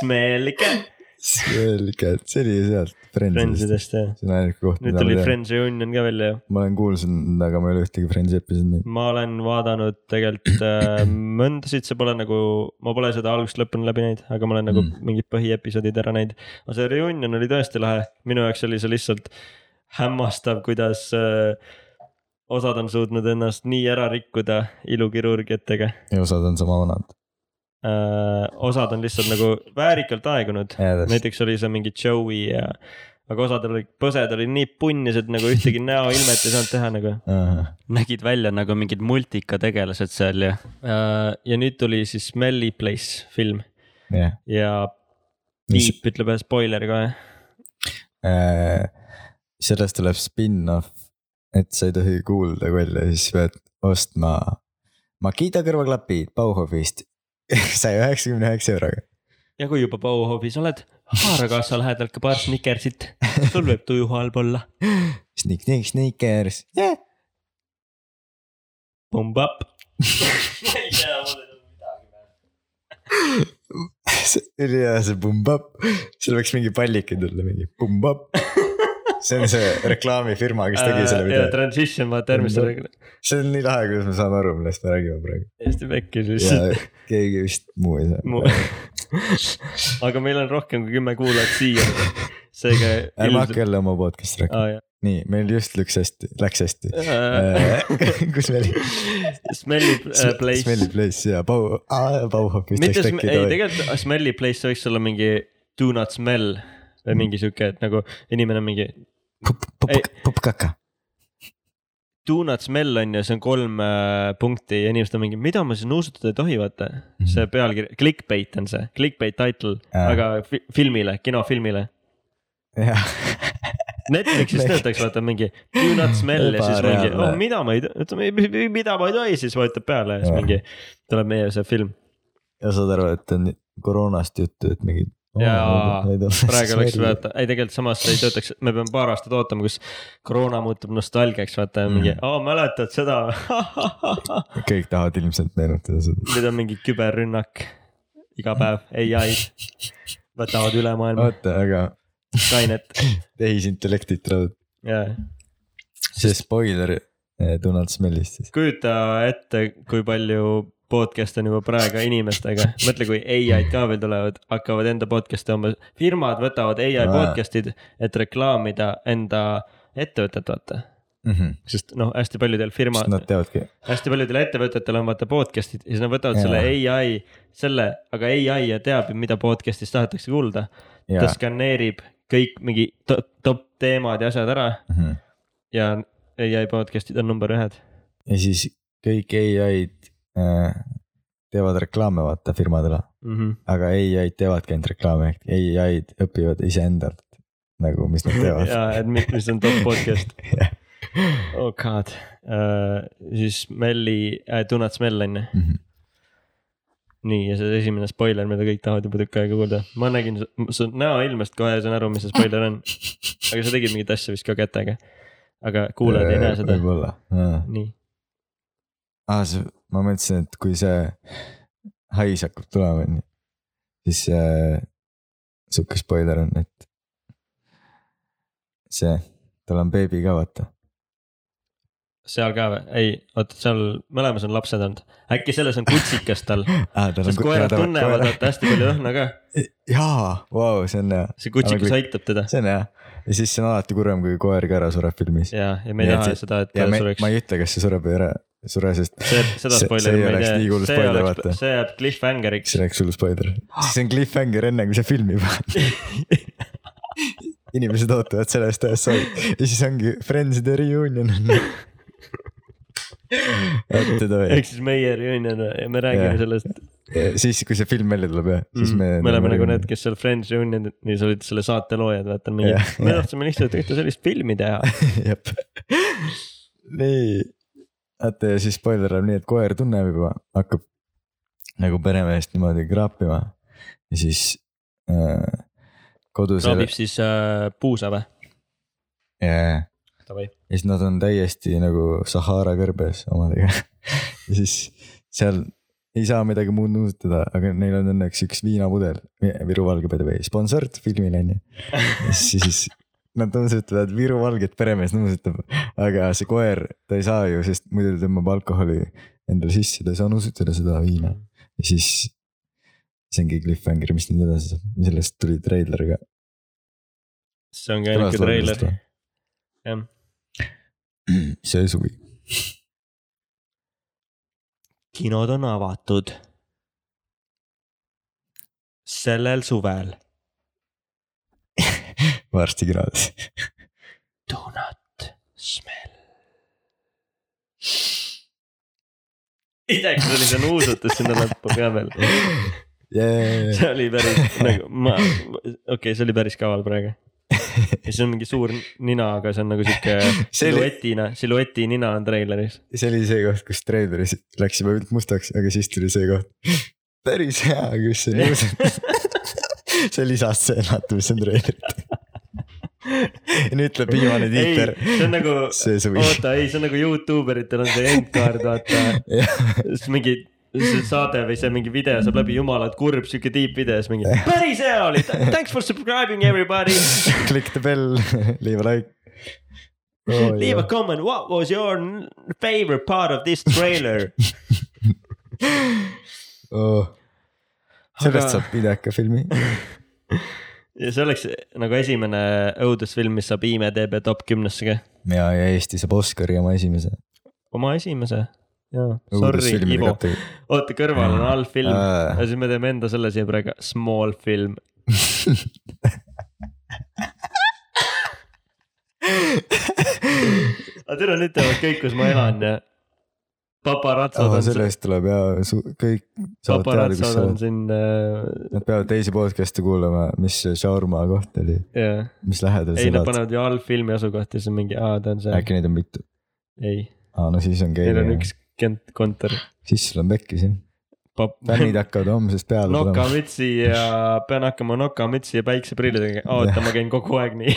S2: Smelly Cat ,
S3: selge , see oli ju sealt Friendsidest .
S2: Friendsidest jah .
S3: see on ainuke koht , mida
S2: nüüd
S3: ma
S2: tuli
S3: tean .
S2: Friends Reunion ka välja ju ,
S3: ma olen kuulsanud , aga ma ei ole ühtegi Friendsi episoodi näinud .
S2: ma olen vaadanud tegelikult äh, mõndasid , see pole nagu , ma pole seda algusest lõpuni läbi näinud , aga ma olen nagu
S3: Mm.
S2: mm. mingid põhiepisoodid ära näinud . aga see Reunion oli tõesti lahe , minu jaoks oli see lihtsalt hämmastav , kuidas äh, osad on suutnud ennast nii ära rikkuda ilukirurgiatega
S3: ja osad on sama vanad .
S2: äh, osad on lihtsalt nagu väärikalt aegunud .
S3: jaa , täpselt .
S2: näiteks oli see mingi Joey ja aga osadel olid põsed olid nii punnised nagu ühtegi näoilmet ei saanud teha nagu .
S4: nägid välja nagu mingid multikategelased seal ja
S2: äh, ja nüüd tuli siis Smelly Place film
S3: jah .
S2: ja
S3: Mis-
S2: Piip ütleb ühe spoileri kohe .
S3: Äh, sellest tuleb spin-off , et sa ei tohi kuulda välja , siis pead ostma Makita kõrvaklapid Bauhofist (laughs) saja üheksakümne üheksa euroga .
S2: ja kui juba Bauhofis oled , haara kaasa lähedalt ka paar snickersit , sul võib tuju halb olla .
S3: Sneak , sneak , sneakers yeah. .
S2: Pumb up .
S3: ülihea see pumbab , seal võiks mingi pallike tulla , mingi pumbab . see on see reklaamifirma , kes tegi selle
S2: Äh, ja
S3: video ,
S2: transition vaata järgmisele ,
S3: see on nii lahe , kuidas me saame aru , millest me räägime praegu .
S2: hästi pekki siis
S3: ja . keegi vist muu ei
S2: Mu...
S3: saa .
S2: aga meil on rohkem kui kümme kuulajat siia , seega
S3: ärme hakka . jälle oma podcast'i rääkima , nii meil just läks hästi , läks hästi . (laughs) kus me olime ?
S2: Smelly äh,
S3: Smelly
S2: place ,
S3: place ja Bau- , Bauhofist
S2: mitte
S3: läks
S2: sm- ,
S3: tekki
S2: ei
S3: tohi .
S2: tegelikult smelly place võiks olla mingi do not smell või mingi sihuke , et nagu inimene on mingi ei.
S3: pup-kaka ,
S2: do not smell on ju , see on kolm äh, punkti ja inimesed on mingi , mida ma siis nuusutada ei tohi , vaata . see pealkiri , clickbait on see , clickbait title ,
S3: Mhm. Jaa.
S2: aga fi filmile , kinofilmile .
S3: jah . (laughs)
S2: Netflixis töötaks vaata mingi do not smell ja siis mingi ,
S3: Ebareaalne.
S2: oh mida ma ei , ütleme mida ma ei tohi , siis vajutab peale ja siis
S3: Jaa.
S2: mingi tuleb meie see film .
S3: (laughs) ja saad aru , et on koroonast juttu , et mingid .
S2: Jaa,
S3: (laughs)
S2: praegu oleks vaata , ei tegelikult samas ei töötaks , me peame paar aastat ootama , kus koroona muutub nostalgiaks , vaata mingi ,
S3: Mm.
S2: aa mäletad seda ?
S3: kõik tahavad ilmselt meenutada seda .
S2: nüüd on mingi küberrünnak iga päev , ai-d võtavad üle maailma ,
S3: vaata , aga
S2: Skynet
S3: tehisintellektid tulevad ,
S2: ja
S3: see spoiler eh, Donald Smellist siis .
S2: kujuta ette , kui palju podcast'e on juba praegu inimestega , mõtle , kui ai-d ka veel tulevad , hakkavad enda podcast'e oma , firmad võtavad ai
S3: Aa.
S2: podcast'id , et reklaamida enda ettevõtet , vaata sest noh , hästi paljudel firma ,
S3: Nad teavadki ,
S2: hästi paljudel ettevõtetel on vaata podcast'id ja siis nad võtavad
S3: Jaa.
S2: selle ai , selle , aga ai ja teab , mida podcast'is tahetakse kuulda . ta
S3: jaa .
S2: skaneerib kõik mingi to- top teemad ja asjad ära
S3: Mhm.
S2: ja ai podcast'id on number ühed .
S3: ja siis kõik ai-d eh, teevad reklaame , vaata firmadele , aga ai-d teevadki ainult reklaame , ehk ai-d õpivad iseendalt nagu , mis nad
S2: (laughs)
S3: teevad .
S2: ja , et mi- mis on top
S3: (laughs)
S2: podcast , oh god uh, , siis Melli uh, , Do Not Smell on ju ,
S3: Mhm.
S2: nii ja see esimene spoiler , mida kõik tahavad juba tükk aega kuulda , ma nägin su, su näoilmest kohe sain aru , mis see spoiler
S3: (laughs)
S2: on . aga sa tegid mingit asja vist ka kätega , aga kuulajad ei näe seda ,
S3: võib-olla .
S2: nii ,
S3: aa , see , ma mõtlesin , et kui see hais hakkab tulema , onju , siis äh, sihuke spoiler on , et see , tal on beebi ka , vaata .
S2: seal ka või , ei , oota seal mõlemas on lapsed olnud , äkki selles on kutsikas
S3: (laughs)
S2: tal ,
S3: aa , tal
S2: sest koerad tunnevad , vaata hästi palju õhna ka ,
S3: jaa , vau , see on hea ,
S2: see kutsikas
S3: Aga-
S2: aitab teda
S3: see on hea . ja siis see on alati kurvem , kui koer ka ära sureb filmis .
S2: ja , ja me ei
S3: Nii et
S2: taha
S3: see-
S2: seda , et
S3: ja
S2: ta
S3: me ,
S2: sureks
S3: ma . ei ütle , kas see sureb või ära ei sure , sest
S2: see , seda
S3: see- see
S2: spoileri
S3: ei
S2: ma ei
S3: oleks
S2: tea
S3: nii , hull
S2: see
S3: spoiler, vaata.
S2: oleks , see jääb cliffhangeriks
S3: see . oleks hull spoiler , siis on cliffhanger enne , kui see filmib .
S2: (laughs)
S3: inimesed ootavad sellest ajast saadik ja siis ongi Friends'ide reunion .
S2: (laughs)
S3: et ei tohi ,
S2: ehk siis meie reunion ja me räägime
S3: Jah.
S2: sellest .
S3: siis kui see film välja tuleb jah , siis me .
S2: me oleme nagu need , kes seal Friends reunion'is olid selle saate loojad , vaata mingi
S3: Jah. ,
S2: me tahtsime lihtsalt ühte sellist filmi teha .
S3: (laughs) jep . nii , vaata ja siis spoiler on nii , et koer tunneb juba , hakkab nagu peremeest niimoodi kraapima ja siis äh, kodus .
S2: sobib siis äh, puusa või ?
S3: jajah
S2: Davai.
S3: ja siis nad on täiesti nagu Sahara kõrbes omadega . ja siis seal ei saa midagi muud nuusutada , aga neil on õnneks üks viinapudel , Viru Valge by the way , sponsort filmile on ju . siis nad nuusutavad Viru Valget , peremees nuusutab , aga see koer , ta ei saa ju , sest muidu ta tõmbab alkoholi endale sisse , ta ei saa nuusutada seda viina . ja siis see ongi cliffhanger , mis nüüd edasi saab , sellest tuli treiler ka .
S2: see ongi ainuke treiler . jah. .
S3: see suvi .
S2: kinod on avatud . sellel suvel
S3: varsti kinodes .
S2: Do not smell . ideeks oli see nuusutus sinna lõppu ka veel .
S3: (laughs)
S2: see oli päris nagu ma , okei okay, , see oli päris kaval praegu . ja siis on mingi suur nina , aga see on nagu sihuke
S3: See oli-
S2: siluetina , silueti nina on treileris .
S3: see oli see koht , kus treileris läksime ainult mustaks , aga siis tuli see koht . päris hea , kus see
S2: (laughs)
S3: niimoodi . see lisas see natuke , mis on treilerit . ja nüüd tuleb viimane
S2: ei ,
S3: tiiter
S2: see on nagu ,
S3: see suvi .
S2: oota , ei , see on nagu Youtube eritel on see endkaart , vaata . siis mingi see saade või see mingi video saab läbi , jumala kurb sihuke tiip video , siis mingi päris hea oli , thanks for subscribing
S3: (laughs)
S2: everybody .
S3: Click the bell , leave a like
S2: Leave a
S3: oh, .
S2: comment , what was your favorite part of this trailer ?
S3: (laughs) Oh. sellest
S2: Aga-
S3: saab pideka filmi .
S2: ja see oleks nagu esimene õudusfilm , mis saab IMDB top kümnesse ka .
S3: ja , ja Eesti saab Oscari oma esimese .
S2: oma esimese . jaa , sorry , Ivo . (laughs) oota , kõrval on halb film
S3: Aa.
S2: ja siis me teeme enda selle siia praegu , small film . aga teil on nüüd teavad kõik , kus ma elan ja paparatsod
S3: Oh,
S2: on
S3: selle
S2: siin ,
S3: eest tuleb ja kõik saavad teada , kus
S2: paparatsod
S3: sa
S2: on
S3: oled .
S2: siin äh,
S3: Nad peavad teisi podcast'e kuulama , mis see shawarma koht oli ,
S2: jah ,
S3: mis lähedal
S2: ei
S3: sa
S2: nad
S3: elad .
S2: panevad ju halb filmi asukohti , siis on mingi , aa ta on see ,
S3: äkki neid on mitu ?
S2: ei ,
S3: aa , no siis on
S2: neil on
S3: keegi ,
S2: üks kent- kontor .
S3: siis sul on pekkis jah .
S2: (laughs)
S3: fännid hakkavad homsest peale tulema .
S2: nokamütsi (laughs) ja pean hakkama nokamütsi ja päikseprillidega , oota , ma käin kogu aeg (laughs) nii .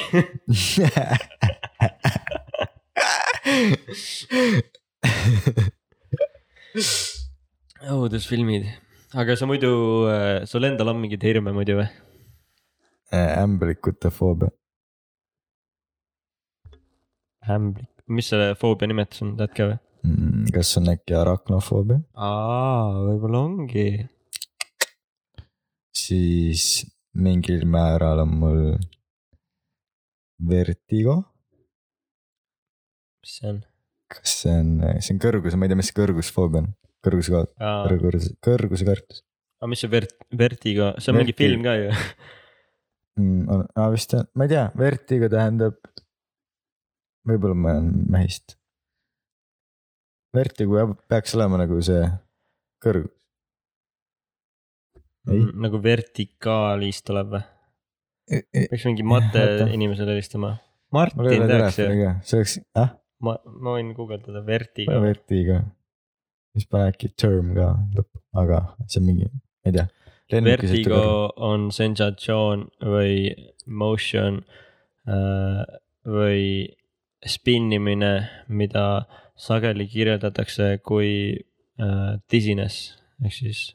S2: õudusfilmid , aga sa muidu , sul endal on mingeid hirme muidu või ?
S3: Äh, ämblikute foobia ,
S2: ämblik , mis selle foobia nimetus on , tead ka või ?
S3: Mm, kas on äkki araknofoobia ,
S2: aa , võib-olla ongi .
S3: siis mingil määral on mul vertigo ,
S2: mis see on ?
S3: kas see on , see on kõrgus , ma ei tea , mis see kõrgusfoobia on , kõrguse kaot- ,
S2: aga
S3: kõrgus , kõrguse kartus .
S2: mis see vert- , vertigo , see on mingi
S3: Vertigo.
S2: film ka ju .
S3: Mm, on , aa vist on , ma ei tea , vertigo tähendab . võib-olla ma olen mähist . Vertigo jah, peaks olema nagu see kõrg , Ei.
S2: nagu vertikaalis tuleb või ?
S3: ma
S2: peaks mingi mate
S3: oota.
S2: inimesele helistama .
S3: ei
S2: Martin
S3: ole
S2: teaks ju ,
S3: telefoni ka , see oleks , ah ,
S2: ma , ma võin guugeldada vertigo
S3: pane . vertigo . siis pane äkki term ka lõpp , aga see on mingi , ma ei tea .
S2: Vertigo on sensatsioon või motion äh, või spinnimine , mida sageli kirjeldatakse kui äh, dizziness ehk siis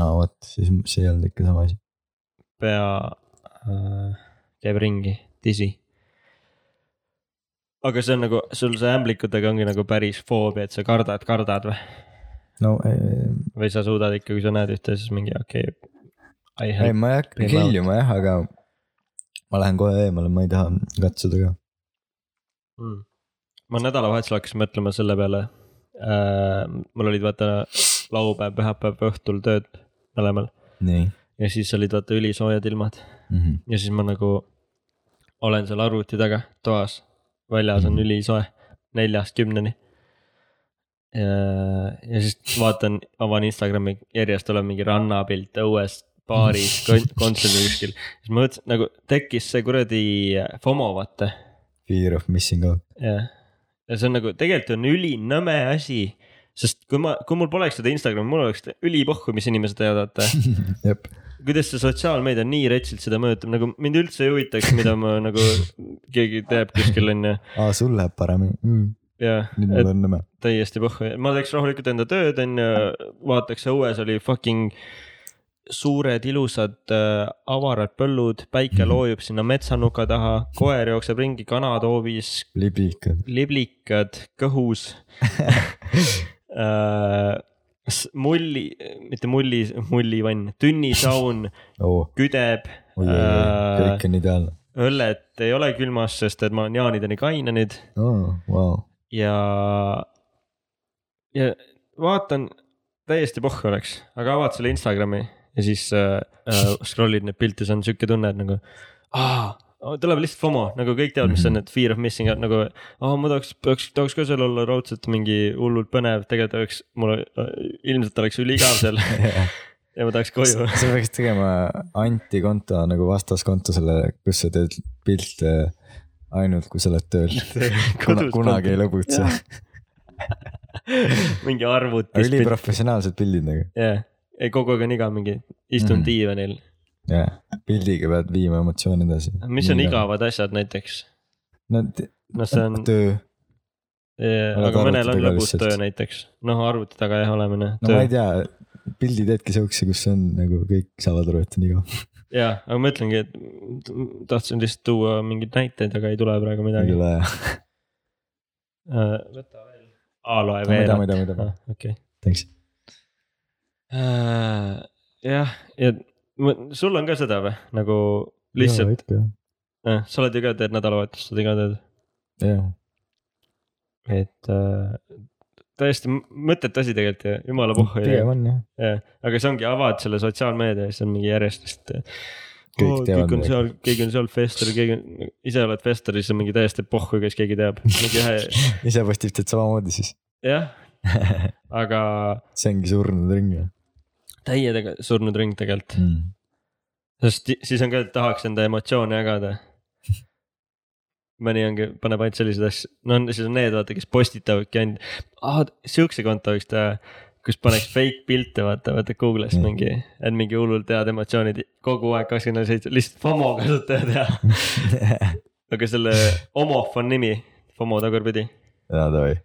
S3: aa vot , siis see ei olnud ikka sama asi .
S2: pea äh, käib ringi , dizzy . aga see on nagu , sul see ämblikutega ongi nagu päris foobia , et sa kardad , kardad või ,
S3: no eh,
S2: või sa suudad ikka , kui sa näed ühte , siis mingi okei
S3: ei ,
S2: okay, .
S3: ma ei hakka
S2: Ei, ma-
S3: killima jah , aga ma lähen kohe eemale , ma ei taha katsuda ka .
S2: Mm. ma nädalavahetusel hakkasin mõtlema selle peale äh, . mul olid vaata laupäev , pühapäev õhtul tööd mõlemal
S3: nii
S2: ja siis olid vaata ülisoojad ilmad
S3: mm . -hmm.
S2: ja siis ma nagu olen seal arvuti taga toas , väljas on
S3: Mhm.
S2: ülisoe , neljast kümneni . ja siis vaatan , avan Instagrami , järjest tuleb mingi rannapilt õues , baaris kon , kontserdil kuskil , siis ma mõtlesin nagu tekkis see kuradi FOMO vaata
S3: Fear of missing out .
S2: jah , ja see on nagu tegelikult on ülinõme asi , sest kui ma , kui mul poleks seda Instagrami , mul oleks ülipohhu , mis inimesed teevad , vaata .
S3: jep ,
S2: kuidas see sotsiaalmeedia nii retsilt seda mõjutab , nagu mind üldse ei huvitaks , mida ma nagu keegi teeb kuskil onju .
S3: aa sul läheb paremini mm. ,
S2: ja ,
S3: nüüd
S2: et
S3: mul on nõme .
S2: täiesti pohhu , ma teeks rahulikult enda tööd onju , vaataks õues oli fucking suured ilusad äh, avarad põllud , päike loojub sinna metsanuka taha , koer jookseb ringi , kanad hoovis ,
S3: liblikad ,
S2: liblikad kõhus Äh, s- mulli , mitte mulli , mullivann , tünnisaun
S3: oo ,
S2: küdeb ,
S3: oi , oi ,
S2: Äh.
S3: oi , kõik on ideaalne .
S2: õllet ei ole külmas , sest et ma olen jaanideni kaine nüüd
S3: oo , vau , (laughs)
S2: ja , ja vaatan , täiesti pohhu oleks , aga avad selle Instagrami ja siis äh, äh, scroll'id neid pilte , siis on sihuke tunne , et nagu aa , tuleb lihtsalt FOMO , nagu kõik teavad , mis on need fear of missing out nagu . aa , ma tahaks , peaks , tahaks ka seal olla raudselt mingi hullult põnev , tegelikult oleks , mul äh, ilmselt oleks üliigav seal (laughs) ja ma tahaks koju .
S3: sa peaks tegema antikonto nagu vastaskonto selle , kus sa teed pilte ainult , kui sa oled tööl .
S2: (laughs)
S3: Kuna, kunagi ei lõbutse .
S2: mingi arvutis .
S3: üliprofessionaalsed pildid nagu ,
S2: jah , ei kogu aeg on igav mingi ,
S3: Mhm.
S2: istun mm. diivanil ,
S3: jah . pildiga pead viima emotsiooni edasi .
S2: mis on ? igavad asjad näiteks ,
S3: no
S2: noh , see on ,
S3: töö , oled
S2: aga mõnel on
S3: arvutitega
S2: lõbus
S3: lihtsalt?
S2: töö näiteks , noh arvuti taga jah olemine ,
S3: no ma
S2: töö
S3: ei , tea , pildi teedki sihukese , kus on nagu kõik saavad aru , et on igav .
S2: jaa , aga ma ütlengi , et tahtsin lihtsalt tuua mingeid näiteid , aga ei tule praegu midagi .
S3: mida ,
S2: võta veel , A-loe
S3: mida ,
S2: veel ,
S3: mida , mida ,
S2: okei .
S3: thanks .
S2: jah , ja ma- sul on ka seda või , nagu lihtsalt ,. sa oled ju ka , teed nädalavahetust , sa oled ka teed ?
S3: jah ,
S2: et äh, täiesti m- mõttetu asi tegelikult ja jumala puhhu .
S3: pigem on jah .
S2: aga see ongi , avad selle sotsiaalmeedia ja siis on mingi järjest vist .
S3: Kõik teavad
S2: kõik on
S3: midagi.
S2: seal , keegi on seal Fester , keegi on , ise oled Fester , siis on mingi täiesti pohhu , kes keegi teab , mingi ühe ,
S3: (laughs) ise postitad samamoodi siis ,
S2: jah . aga
S3: see ongi surnud ring jah
S2: täie tege- surnud ring tegelikult ,
S3: mm. .
S2: sest ti- siis on ka , et tahaks enda emotsioone jagada . mõni ongi , paneb ainult selliseid asju , no on- siis on need vaata , kes postitavadki ainult , aa siukse konto võiks teha kus paneks fake pilte , vaata , vaata Google'ist
S3: Mm.
S2: mingi , et mingi hullult head emotsioonid kogu aeg kakskümmend neli seitse , lihtsalt FOMO kasutajad ja . aga selle Omof on nimi , FOMO tagurpidi ,
S3: jaa , davai .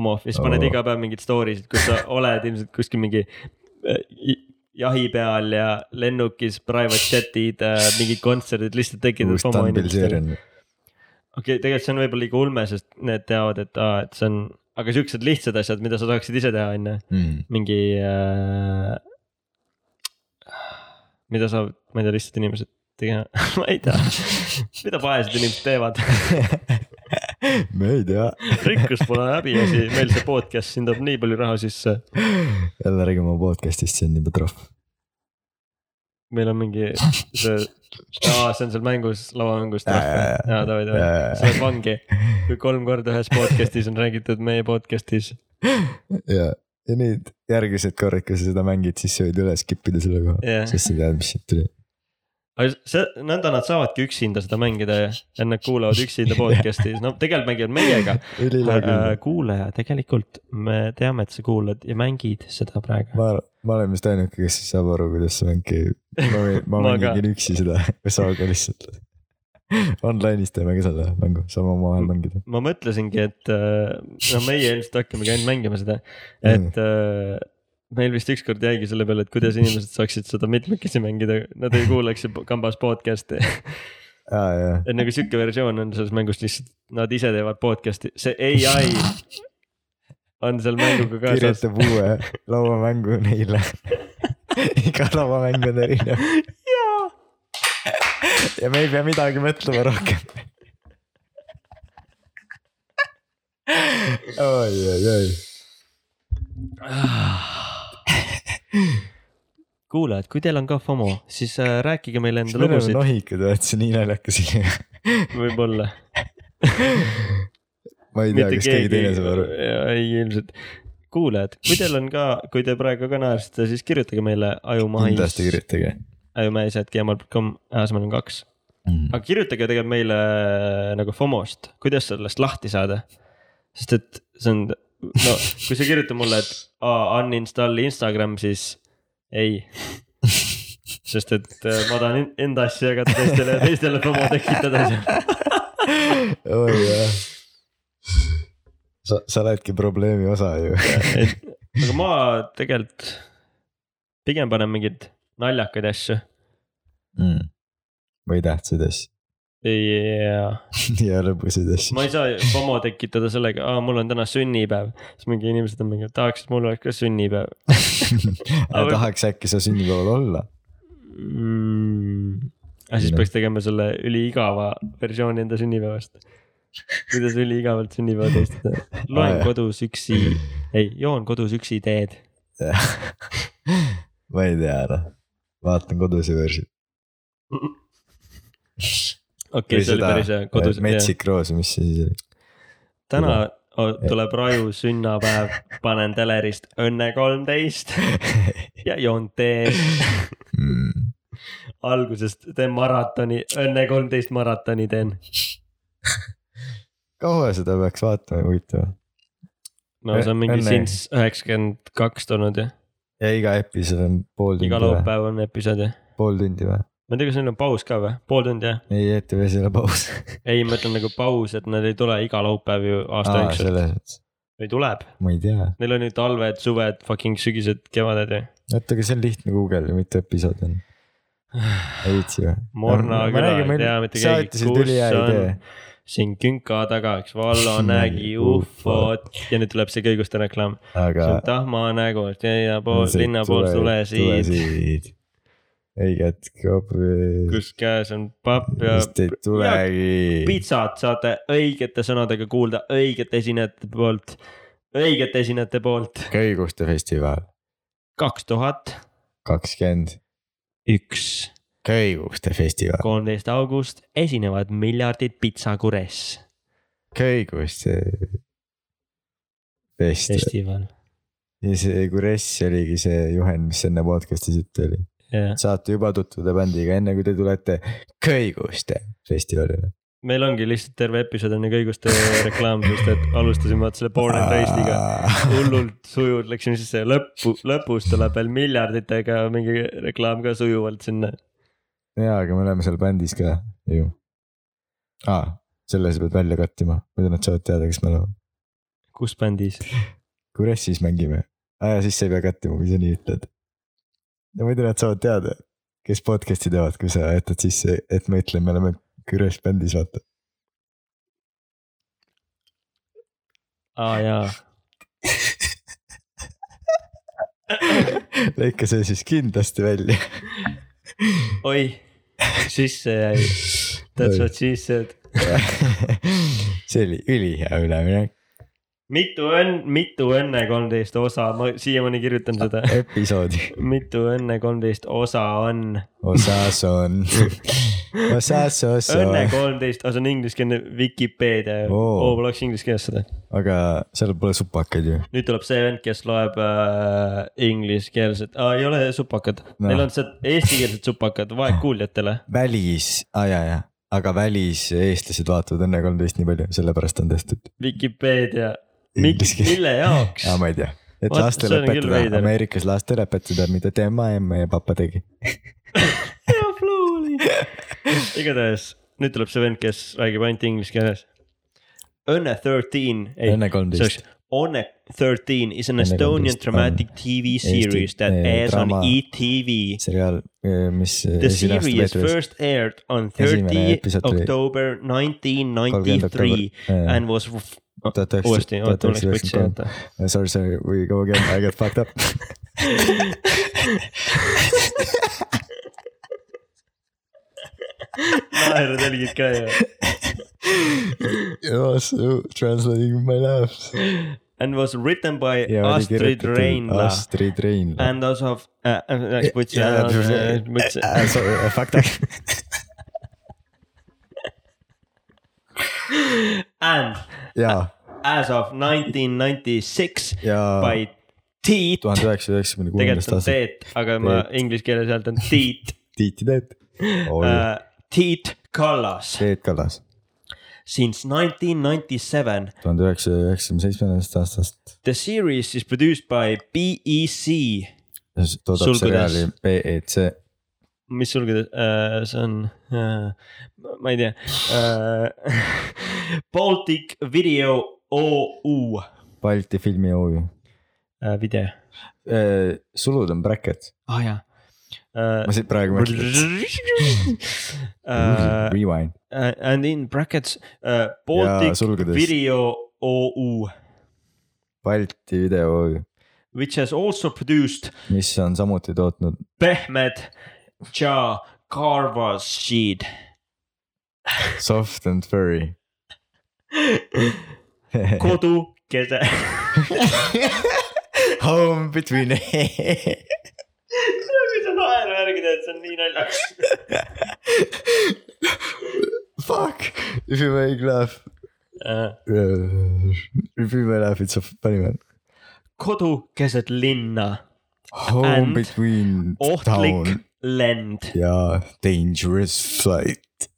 S2: Omof ja siis paned
S3: Oo.
S2: iga päev mingeid story sid , kus sa oled ilmselt kuskil mingi äh, i- jahi peal ja lennukis , private chat'id , mingid kontserdid , lihtsalt tekitad
S3: uus . Stambilseerion .
S2: okei , tegelikult see on võib-olla liiga ulme , sest need teavad , et aa , et see on , aga siuksed lihtsad asjad , mida sa saaksid ise teha , on ju ,
S3: Hmm.
S2: (laughs) mingi äh, . mida saavad , ma ei tea , lihtsalt inimesed teha , (laughs) ma ei tea , mida vaesed inimesed
S3: (laughs)
S2: teevad
S3: me ei tea ,
S2: rikkus pole häbiasi , meil see podcast siin toob nii palju raha sisse .
S3: jälle räägime oma podcast'ist , see on juba trahv .
S2: meil on mingi
S3: (laughs)
S2: see , aa , see on seal mängus , lauamängus
S3: Jaa, jaa,
S2: trahv
S3: jaa. ,
S2: jaa davai , davai , sa oled vangi . kui kolm korda ühes podcast'is on räägitud meie podcast'is ,
S3: ja , ja nüüd järgmised korrad , kui sa seda mängid , siis sa võid üle skip ida selle koha
S2: Jah.
S3: yeah. , sest sa tead , mis siit tuli .
S2: aga see , nõnda nad saavadki üksinda seda mängida ja , ja nad kuulavad
S3: (laughs)
S2: üksinda podcast'i , no tegelikult mängivad meiega .
S3: ülilahe küll .
S2: kuulaja , tegelikult me teame , et sa kuulad ja mängid seda praegu .
S3: ma , ma olen vist ainuke , kes saab aru , kuidas see mäng käib . ma , ma
S2: (laughs) Ma ka.
S3: mängin üksi seda , (laughs) Saoga lihtsalt . Online'is teeme ka selle mängu , saame omavahel mängida .
S2: ma mõtlesingi , et äh, no meie ilmselt hakkamegi ainult mängima seda , et äh, meil vist ükskord jäigi selle peale , et kuidas inimesed saaksid seda mitmekesi mängida , nad ei kuulaks ju kambas podcast'i .
S3: aa , jaa .
S2: et nagu sihuke versioon on selles mängus lihtsalt , nad ise teevad podcast'i , see ai on seal mänguga kaasas .
S3: kirjutab uue lauamängu
S2: (laughs)
S3: neile . iga lauamäng on erinev . ja me ei pea midagi mõtlema rohkem . oi , oi , oi .
S2: kuulajad , kui teil on ka FOMO , siis äh, rääkige meile
S3: kas
S2: enda
S3: me oleme
S2: lugusid ,
S3: nohikud või , et see nii naljakas oli ?
S2: võib-olla .
S3: ma ei tea ,
S2: mitte
S3: kas keegi
S2: keegi
S3: teine saab aru ..
S2: ei , ilmselt . kuulajad , kui teil on ka , kui te praegu ka naersite , siis kirjutage meile ajumahis
S3: kindlasti , kirjutage .
S2: ajumahis.gmail.com , asemel on kaks . aga kirjutage tegelikult meile nagu FOMO-st , kuidas sellest lahti saada . sest et see on , no kui sa kirjutad mulle , et aa, uninstall Instagram , siis ei . sest et äh, ma tahan enda asja jagada teistele ja teistele FOMO tekitada seal .
S3: oi jah . sa , sa oledki probleemi osa ju .
S2: et aga ma tegelikult pigem panen mingeid naljakaid asju Mm.
S3: või tähtsaid asju (laughs)
S2: yeah. .
S3: ja lõbusaid asju .
S2: ma ei saa FOMO tekitada sellega , aa , mul on täna sünnipäev , siis mingi inimesed on mingi , tahaks , et mul oleks ka sünnipäev
S3: (laughs) aga tahaks äkki sa sünnipäeval olla ?
S2: mm. . aga siis
S3: Jah.
S2: peaks tegema selle üliigava versiooni enda sünnipäevast . kuidas üliigavalt sünnipäeva teistada ,
S3: Aa,
S2: loen
S3: jah.
S2: kodus üksi ,
S3: (laughs)
S2: ei , joon kodus üksi teed .
S3: ma ei tea , noh , vaatan koduse versiooni .
S2: okei , see oli päris hea , kodus .
S3: Äh, metsik roos , mis see siis oli ?
S2: täna o- tuleb Raju sünnapäev , panen telerist Õnne kolmteist ja joon teed
S3: Hmm.
S2: algusest teen maratoni , Õnne kolmteist maratoni teen .
S3: kaua seda peaks vaatama , huvitav .
S2: no see on mingi
S3: Õnne.
S2: since üheksakümmend kaks tulnud ju ,
S3: ja iga episood on pool
S2: iga
S3: tundi või ?
S2: laupäev on episood ju .
S3: pool tundi või ?
S2: ma ei tea , kas neil on paus ka või , pool tundi jah ?
S3: ei , ETV-s ei ole paus .
S2: ei , ma ütlen nagu paus , et nad ei tule iga laupäev ju (laughs) aasta jooksul
S3: selles mõttes ,
S2: või tuleb .
S3: ma ei tea .
S2: Neil on ju talved , suved , fucking sügised , kevaded ju .
S3: oota , aga see on lihtne guugeldada , mitu episood
S2: (sighs)
S3: on ? ei viitsi või ?
S2: Morna küla ei tea mitte keegi , kus on . siin künka taga , eks Vallo nägi ufot ja nüüd tuleb see kõiguste reklaam .
S3: aga
S2: see on tahma nägust ja , ja pool linna poolt tulesid ,
S3: tulesid . õiget kopi .
S2: kus käes on papp ja
S3: vist ei tulegi .
S2: pitsat saate õigete sõnadega kuulda õigete esinejate poolt , õigete esinejate poolt .
S3: kõiguste festival
S2: kaks tuhat
S3: kakskümmend ,
S2: üks ,
S3: kõiguste festival ,
S2: kolmteist august esinevad miljardid pitsa Kures
S3: kõiguste . festival
S2: festival ,
S3: ja see Kuress oligi see juhend , mis enne podcast'is juttu oli .
S2: jah .
S3: saate juba tutvuda bändiga , enne kui te tulete Kõiguste festivalile .
S2: meil ongi lihtsalt terve episood on ju kõiguste reklaam , sest et alustasime vaata selle Born and Raised'iga .
S3: (laughs)
S2: hullult sujuvalt läksime sisse ja lõppu , lõpus tuleb veel miljarditega mingi reklaam ka sujuvalt sinna .
S3: jaa , aga me oleme seal bändis ka ju . aa , selle sa pead välja kattima , muidu nad saavad teada , kes me oleme .
S2: kus bändis ?
S3: Kuressis mängime . aa ja siis sa ei pea kattima , kui sa nii ütled . no muidu nad saavad teada , kes podcast'i teevad , kui sa jätad sisse , et me ütleme , me oleme Kures bändis , vaata .
S2: aa jaa ,
S3: lõika see siis kindlasti välja .
S2: oih , sisse jäi . That's what she said .
S3: (laughs) see oli ülihea üleminek ,
S2: mitu õnn , mitu õnne kolmteist osa , ma siiamaani kirjutan seda .
S3: episoodi
S2: mitu õnne kolmteist osa on ?
S3: osas on , osas
S2: õnne
S3: osa ,
S2: kolmteist , see on ingliskeelne Vikipeedia
S3: Oo.
S2: oh. , ma loeks inglise keeles seda .
S3: aga seal pole supakaid ju .
S2: nüüd tuleb see vend , kes loeb äh, ingliskeelset ah, , ei ole supakad no. ,
S3: No.
S2: neil on see eestikeelsed supakad vaegkuuljatele .
S3: välis ah, , ja , ja , aga väliseestlased vaatavad Õnne kolmteist nii palju , sellepärast on tehtud .
S2: Vikipeedia ,
S3: Inglise keel-
S2: mille jaoks
S3: aa ,? ma ei tea , et
S2: Vaat,
S3: lastele
S2: see on küll
S3: õpetada ,
S2: veider.
S3: Ameerikas lastele õpetada , mida tema emme ja papa tegi .
S2: hea flow oli . (laughs) igatahes nüüd tuleb see vend , kes räägib ainult inglise keeles . Õnne thirteen , ei ,
S3: Õnne kolmteist ,
S2: One 13 is an
S3: Õnne
S2: Estonian
S3: 13
S2: dramatic TV series that
S3: eh,
S2: airs on
S3: drama-
S2: ETV.
S3: seriaal , mis . eh,
S2: The series first aired on
S3: Esimene
S2: 30
S3: episood tuli-
S2: October 1993 and was
S3: tuhat
S2: uuesti , oota , mul läks putsi ,
S3: üheksakümmend
S2: oota .
S3: kolm , sorry , sorry , we go again , I got fucked (laughs) up .
S2: naerud jälgid ka ju .
S3: It was uh, translating my laughs .
S2: And was written by
S3: ja oli
S2: Astrid
S3: kirjutatud
S2: Reinla
S3: Astrid Reinla .
S2: and as of äh, äh, läks putsi ,
S3: Ja- ja-
S2: putsi .
S3: Äh, sorry, äh, fuck that .
S2: (laughs) And
S3: ja ,
S2: as of 1996
S3: ja
S2: by Tiit ,
S3: tuhande üheksasaja üheksakümne kuuendast
S2: tegelikult on
S3: aastast
S2: Teet , aga ma inglise keeles hääldan Tiit
S3: Tiiti teed .
S2: uh, Tiit Kallas
S3: Teet Kallas ,
S2: since 1997.
S3: tuhande üheksasaja üheksakümne seitsmendast aastast
S2: The series is produced by E BEC.
S3: toodab
S2: Sulgudes.
S3: seriaali E BEC .
S2: mis sulgudes uh, see on uh, , ma ei tea uh, . (laughs) Baltic Video OÜ uh,
S3: Balti filmi OÜ .
S2: video .
S3: sulud on bracket ,
S2: aa oh, jaa uh,
S3: ma . siit praegu mõtlen .
S2: (laughs) Uh,
S3: Rewind ,
S2: and in brackets uh, Baltic
S3: sulgudes.
S2: Video OÜ ,
S3: Balti video OÜ ,
S2: which has also produced
S3: mis on samuti tootnud ,
S2: pehmed ja karvasid .
S3: Soft and Furry .
S2: kodu kese ,
S3: (laughs)
S2: (laughs)
S3: Home between . (laughs)
S2: kui sa naeru järgi teed , see on nii naljakas .
S3: fuck if you make laugh
S2: Uh,
S3: Eh, if you make laugh it's a funny man .
S2: kodu keset linna ,
S3: Home
S2: And
S3: between
S2: ohtlik
S3: town
S2: lend ,
S3: ja dangerous flight .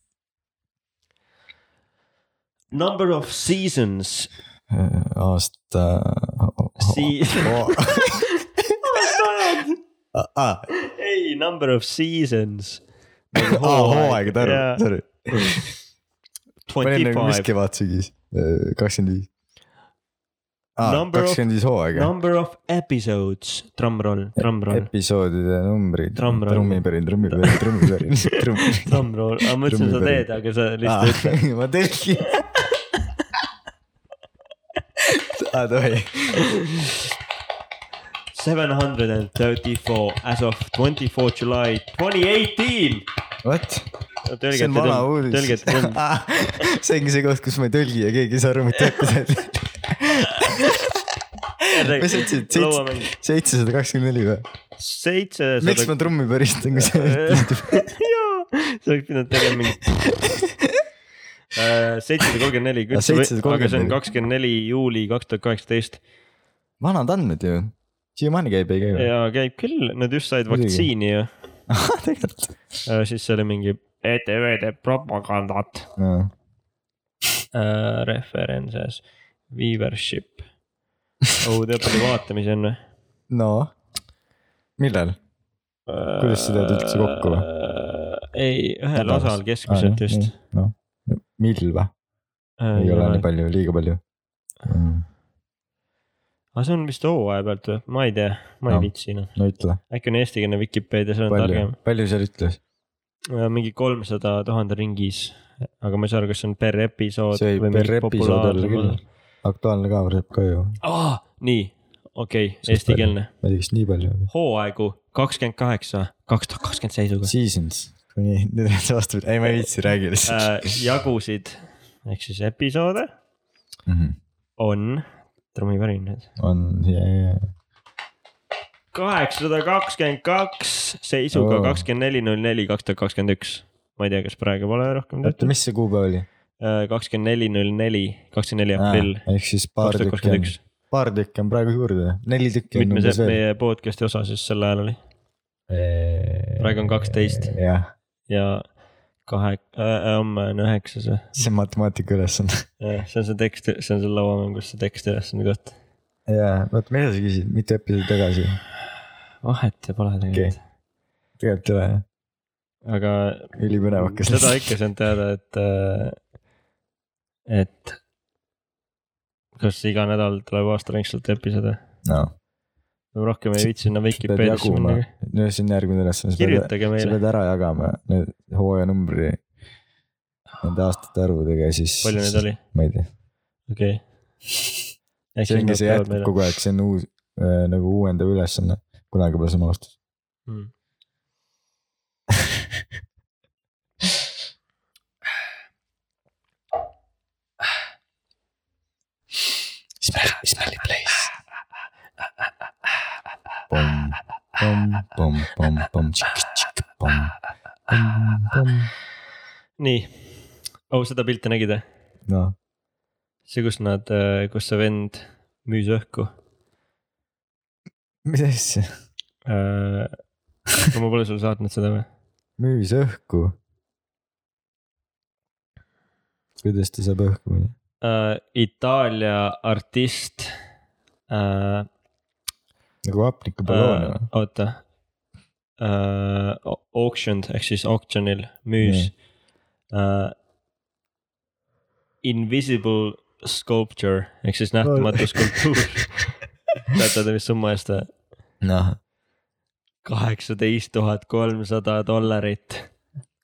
S2: number of seasons ,
S3: Eh, ah, aasta . Oh. ah,
S2: (laughs) siis . Oh
S3: ah,
S2: ei , number of seasons .
S3: Oh, hooaegade arv , sorry . ma olin
S2: Twenty
S3: nagu , mis
S2: five ,
S3: kevad-sügis , kakskümmend viis . Ah,
S2: Number of-
S3: kakskümmend viis hooaega .
S2: number of episodes , trummroll ,
S3: E-,
S2: trummroll ,
S3: episoodide numbrid .
S2: Drumroll.
S3: trummipärin , trummipärin , trummipärin ,
S2: (laughs)
S3: trummipärin .
S2: trummroll , ma mõtlesin , sa teed , aga sa
S3: Ah.
S2: lihtsalt ütled .
S3: (laughs) ma tõlgin . aa , tohi .
S2: Seven hundred and thirty four as of twenty four July twenty eighteen .
S3: What ? see on vana uudis . (laughs) see ongi see koht , kus ma ei tõlgi ja keegi ei saa aru , mida ütled . mis sa ütlesid ,
S2: lauamäng
S3: seitsesada kakskümmend neli või ? miks
S2: seitsesada .
S3: ma trummi nagu päristan , kui sa
S2: (laughs) jaa , sa oleks pidanud tegema mingi . seitsesada kolmkümmend neli ,
S3: Aa, 734.
S2: aga see on kakskümmend neli juuli kaks tuhat kaheksateist
S3: vanad andmed ju , siiamaani käib , ei käi või ?
S2: ja käib küll , nad just said
S3: Muidugi.
S2: vaktsiini ju ,
S3: (laughs) tegelikult .
S2: siis see oli mingi ETV teeb propagandat äh, , references , viewership . Oh, õude
S3: (laughs)
S2: õppida vaatamise on või ?
S3: no , millal ? Kuidas seda tõlkis kokku või? ?
S2: Äh, ei , ühel
S3: Nädalas.
S2: osal keskmiselt just .. Äh,
S3: noh , mil või ? ei ole nii palju , liiga palju mm. .
S2: aga see on vist hooaja pealt või ? ma ei tea , ma
S3: No.
S2: ei viitsi noh ,
S3: no ütle ,
S2: äkki on eestikeelne Vikipeedia , see on
S3: palju
S2: targem .,
S3: palju seal ütles ?
S2: mingi kolmsada tuhande ringis , aga ma ei saa aru , kas see on per episood .
S3: see võib per episood olla küll . Aktuaalne kaamera saab ka ju ,
S2: aa , nii , okei okay, ,
S3: Super.
S2: eestikeelne .
S3: ma ei tea , kas nii palju .
S2: hooaegu kakskümmend kaheksa , kaks tuhat kakskümmend seisuga
S3: Seasons , nii , (laughs) nüüd on see vastupidi , ei ma ei viitsi , räägi lihtsalt
S2: äh, . jagusid ehk siis episoode Äh.
S3: mm . -hmm.
S2: on , trummivärin nüüd .
S3: on , ja , ja , ja .
S2: kaheksasada kakskümmend kaks seisuga
S3: Oo.
S2: kakskümmend neli , null neli , kaks tuhat kakskümmend üks . ma ei tea , kas praegu pole rohkem
S3: oota ,
S2: tehtud .
S3: mis see kuupäev oli ?
S2: kakskümmend neli , null neli , kakskümmend neli aprill ,
S3: ehk siis paar
S2: kaks tuhat
S3: tükki
S2: kakskümmend
S3: on
S2: üks .,
S3: paar tükki on praegu juurde , neli tükki on
S2: mitmes
S3: umbes veel .
S2: meie podcast'i osa siis sel ajal oli praegu on 12.
S3: jah ,
S2: ja kahe äh, , homme on üheksas või ?
S3: see on matemaatika ülesanne . (laughs)
S2: see on see tekst , see on see lauamängus see tekst ülesande koht .
S3: jaa , oota , mida sa küsisid , mitu episoodi tagasi ?
S2: vahet ei pole tegelikult okay. ,
S3: tegelikult ei ole jah ,
S2: aga
S3: ülipõnevakas .
S2: seda ikka see on teada , et äh, , et kas iga nädal tuleb aastaringselt episood või ?
S3: no. .
S2: no rohkem ei viitsi sinna
S3: sa pead
S2: Vikipeediasse
S3: jaguma
S2: minna .,
S3: no see on järgmine ülesanne , sa pead ,
S2: kirjutage
S3: sa
S2: meile ,
S3: pead ära jagama need hooaja numbri nende aastate arvudega ja siis .
S2: palju neid ? oli ,
S3: ma ei tea ,
S2: okei .
S3: (laughs) see ongi , see jätkub kogu aeg , see on uus äh, nagu uuendav ülesanne , kunagi pole sama vastus .
S2: Mm.
S3: Smelly , smelly place . pomm , pomm , pomm , pomm , pomm , tšikk , tšikk , pomm , pomm , pomm .
S2: nii , oh seda pilti nägid või ?
S3: noh ,
S2: see , kus nad , kus see vend müüs õhku .
S3: mis asja ,
S2: Äh, ma pole sulle saatnud seda või ?
S3: müüs õhku . kuidas ta saab õhku minna ?
S2: Äh, Itaalia artist . äh,
S3: nagu hapnikuballoon või ?
S2: oota . Auctioned ehk siis auction'il müüs . Invisible sculpture ehk siis nähtamatu
S3: (laughs)
S2: skulptuur . teate , mis summa eest või ?
S3: noh ,
S2: kaheksateist tuhat kolmsada dollarit .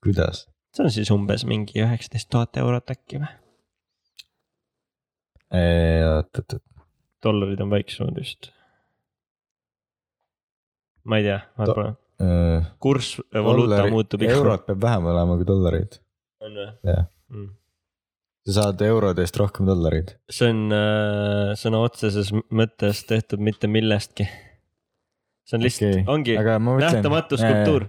S3: kuidas ?
S2: see on siis umbes mingi üheksateist tuhat eurot äkki või ?
S3: oot , oot , oot ,
S2: dollarid on väiksemad vist . ma ei tea ,
S3: Do-
S2: võib-olla
S3: oot .
S2: kurss , valuuta muutub ikka .
S3: eurot peab vähem olema kui dollareid .
S2: on või
S3: Jah.
S2: Mm.
S3: sa saad eurode eest rohkem dollareid .
S2: see on äh, sõna otseses mõttes tehtud mitte millestki . see on lihtsalt okay. , ongi aga...
S3: aga ma mõtlen .
S2: nähtamatu skulptuur .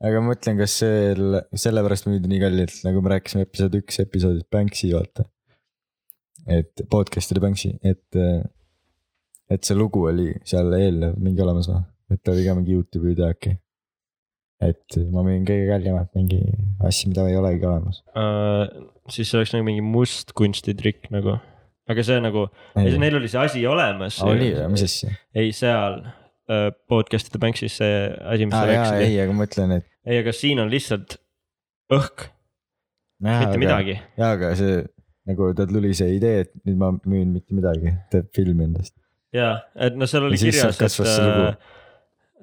S3: aga ma mõtlen , kas sel , sellepärast müüdi nii kallilt , nagu me rääkisime episood üks episoodis Banksy vaata . et podcast oli Banksy , et , et see lugu oli seal eelnev mingi olemas või , et ta oli ka mingi Youtube'i video äkki . et ma müün kõige kallimalt mingi asju , mida ei olegi olemas .
S2: uh, . siis see oleks nagu mingi must kunstitrikk nagu , aga see nagu , neil oli see asi olemas .
S3: oli või , mis asja ?
S2: ei , seal uh, podcast'ide Banksis see asi , mis
S3: aa jaa ,
S2: sa
S3: ei
S2: rääkisid .,
S3: aga ma mõtlen , et .
S2: ei , aga siin on lihtsalt õhk , mitte midagi .
S3: jaa , aga see nagu tal tuli see idee , et nüüd ma müün mitte midagi , teeb filmi endast .
S2: ja , et noh , seal oli
S3: Ja siis
S2: kirjas ,
S3: sealt
S2: et
S3: kasvas see lugu.
S2: uh, .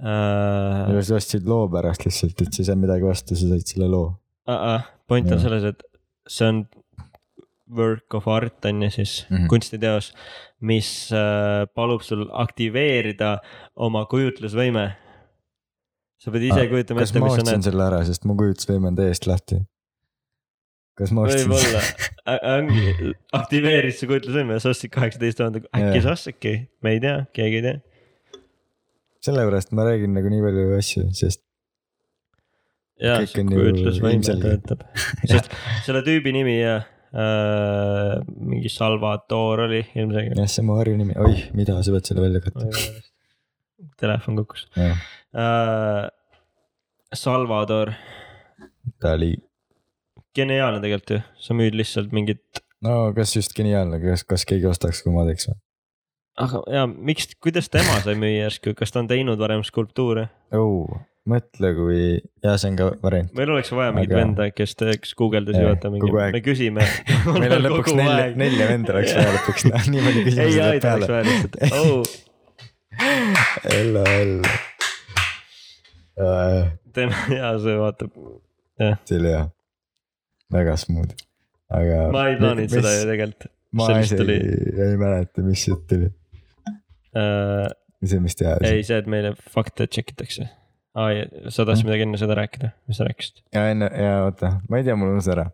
S2: Uh,
S3: ja sa ostsid loo pärast lihtsalt , et sa ei saanud midagi vastu , sa said selle loo .
S2: uh-uh. point on
S3: Jah.
S2: selles , et see on work of art on ju siis mm
S3: Mhm.
S2: -hmm. kunstiteos , mis äh, palub sul aktiveerida oma kujutlusvõime . sa pead ise
S3: Ah,
S2: ah, kujutama
S3: kas
S2: ette ,
S3: ma
S2: mis sa
S3: ostsin
S2: näed ,
S3: selle ära , sest mu kujutusvõime on täiesti lahti . kas ma ostsin selle
S2: võib-olla , ongi , aktiveeris su kujutlusvõime , sa ostsid kaheksateist tuhandet , äkki
S3: Jah.
S2: sa ostsidki , me ei tea , keegi ei tea .
S3: (laughs) sellepärast ma räägin nagu nii palju asju , sest
S2: ja
S3: Kõik
S2: su
S3: on ju
S2: kujutlusvõime
S3: ilmselge.
S2: töötab ,
S3: (laughs)
S2: sest selle tüübi nimi ja äh, mingi Salvator oli ilmselgelt .
S3: jah , see on mu harjunimi , oih , mida sa pead selle välja katta .
S2: telefon kukkus uh, . Salvador ,
S3: ta oli ,
S2: geniaalne tegelikult ju , sa müüd lihtsalt mingit ,
S3: no kas just geniaalne , kas , kas keegi ostaks , kui ma teeks või ?
S2: aga ja miks , kuidas tema sai müüa järsku , kas ta on teinud varem skulptuure ?
S3: õu , mõtle , kui , jaa , see on ka variant .
S2: meil oleks vaja mingit
S3: Aga-
S2: aga... venda , kes teeks guugeldusi ,
S3: Jah,
S2: vaata mingi
S3: kogu , aeg.
S2: me küsime .
S3: (laughs) meil on lõpuks nelja , nelja venda
S2: (laughs)
S3: oleks vaja lõpuks , noh nii palju
S2: ei
S3: küsimusi , tuleb
S2: aita oleks
S3: peale .
S2: vaja
S3: (laughs)
S2: lihtsalt , Oh. oo ,
S3: Ello , ello .
S2: teeme hea , see vaatab ,
S3: see oli hea , väga smooth , aga .
S2: ma ei plaaninud seda ju tegelikult
S3: ma
S2: see vist
S3: isegi
S2: oli-
S3: ei mäleta , mis jutt oli ,
S2: uh, .
S3: see on vist hea asi .
S2: ei , see , et meile fakte check itakse . aa , sa tahtsid midagi enne seda rääkida , mis sa rääkisid ?
S3: ja enne ja oota , ma ei tea , mul unus ära .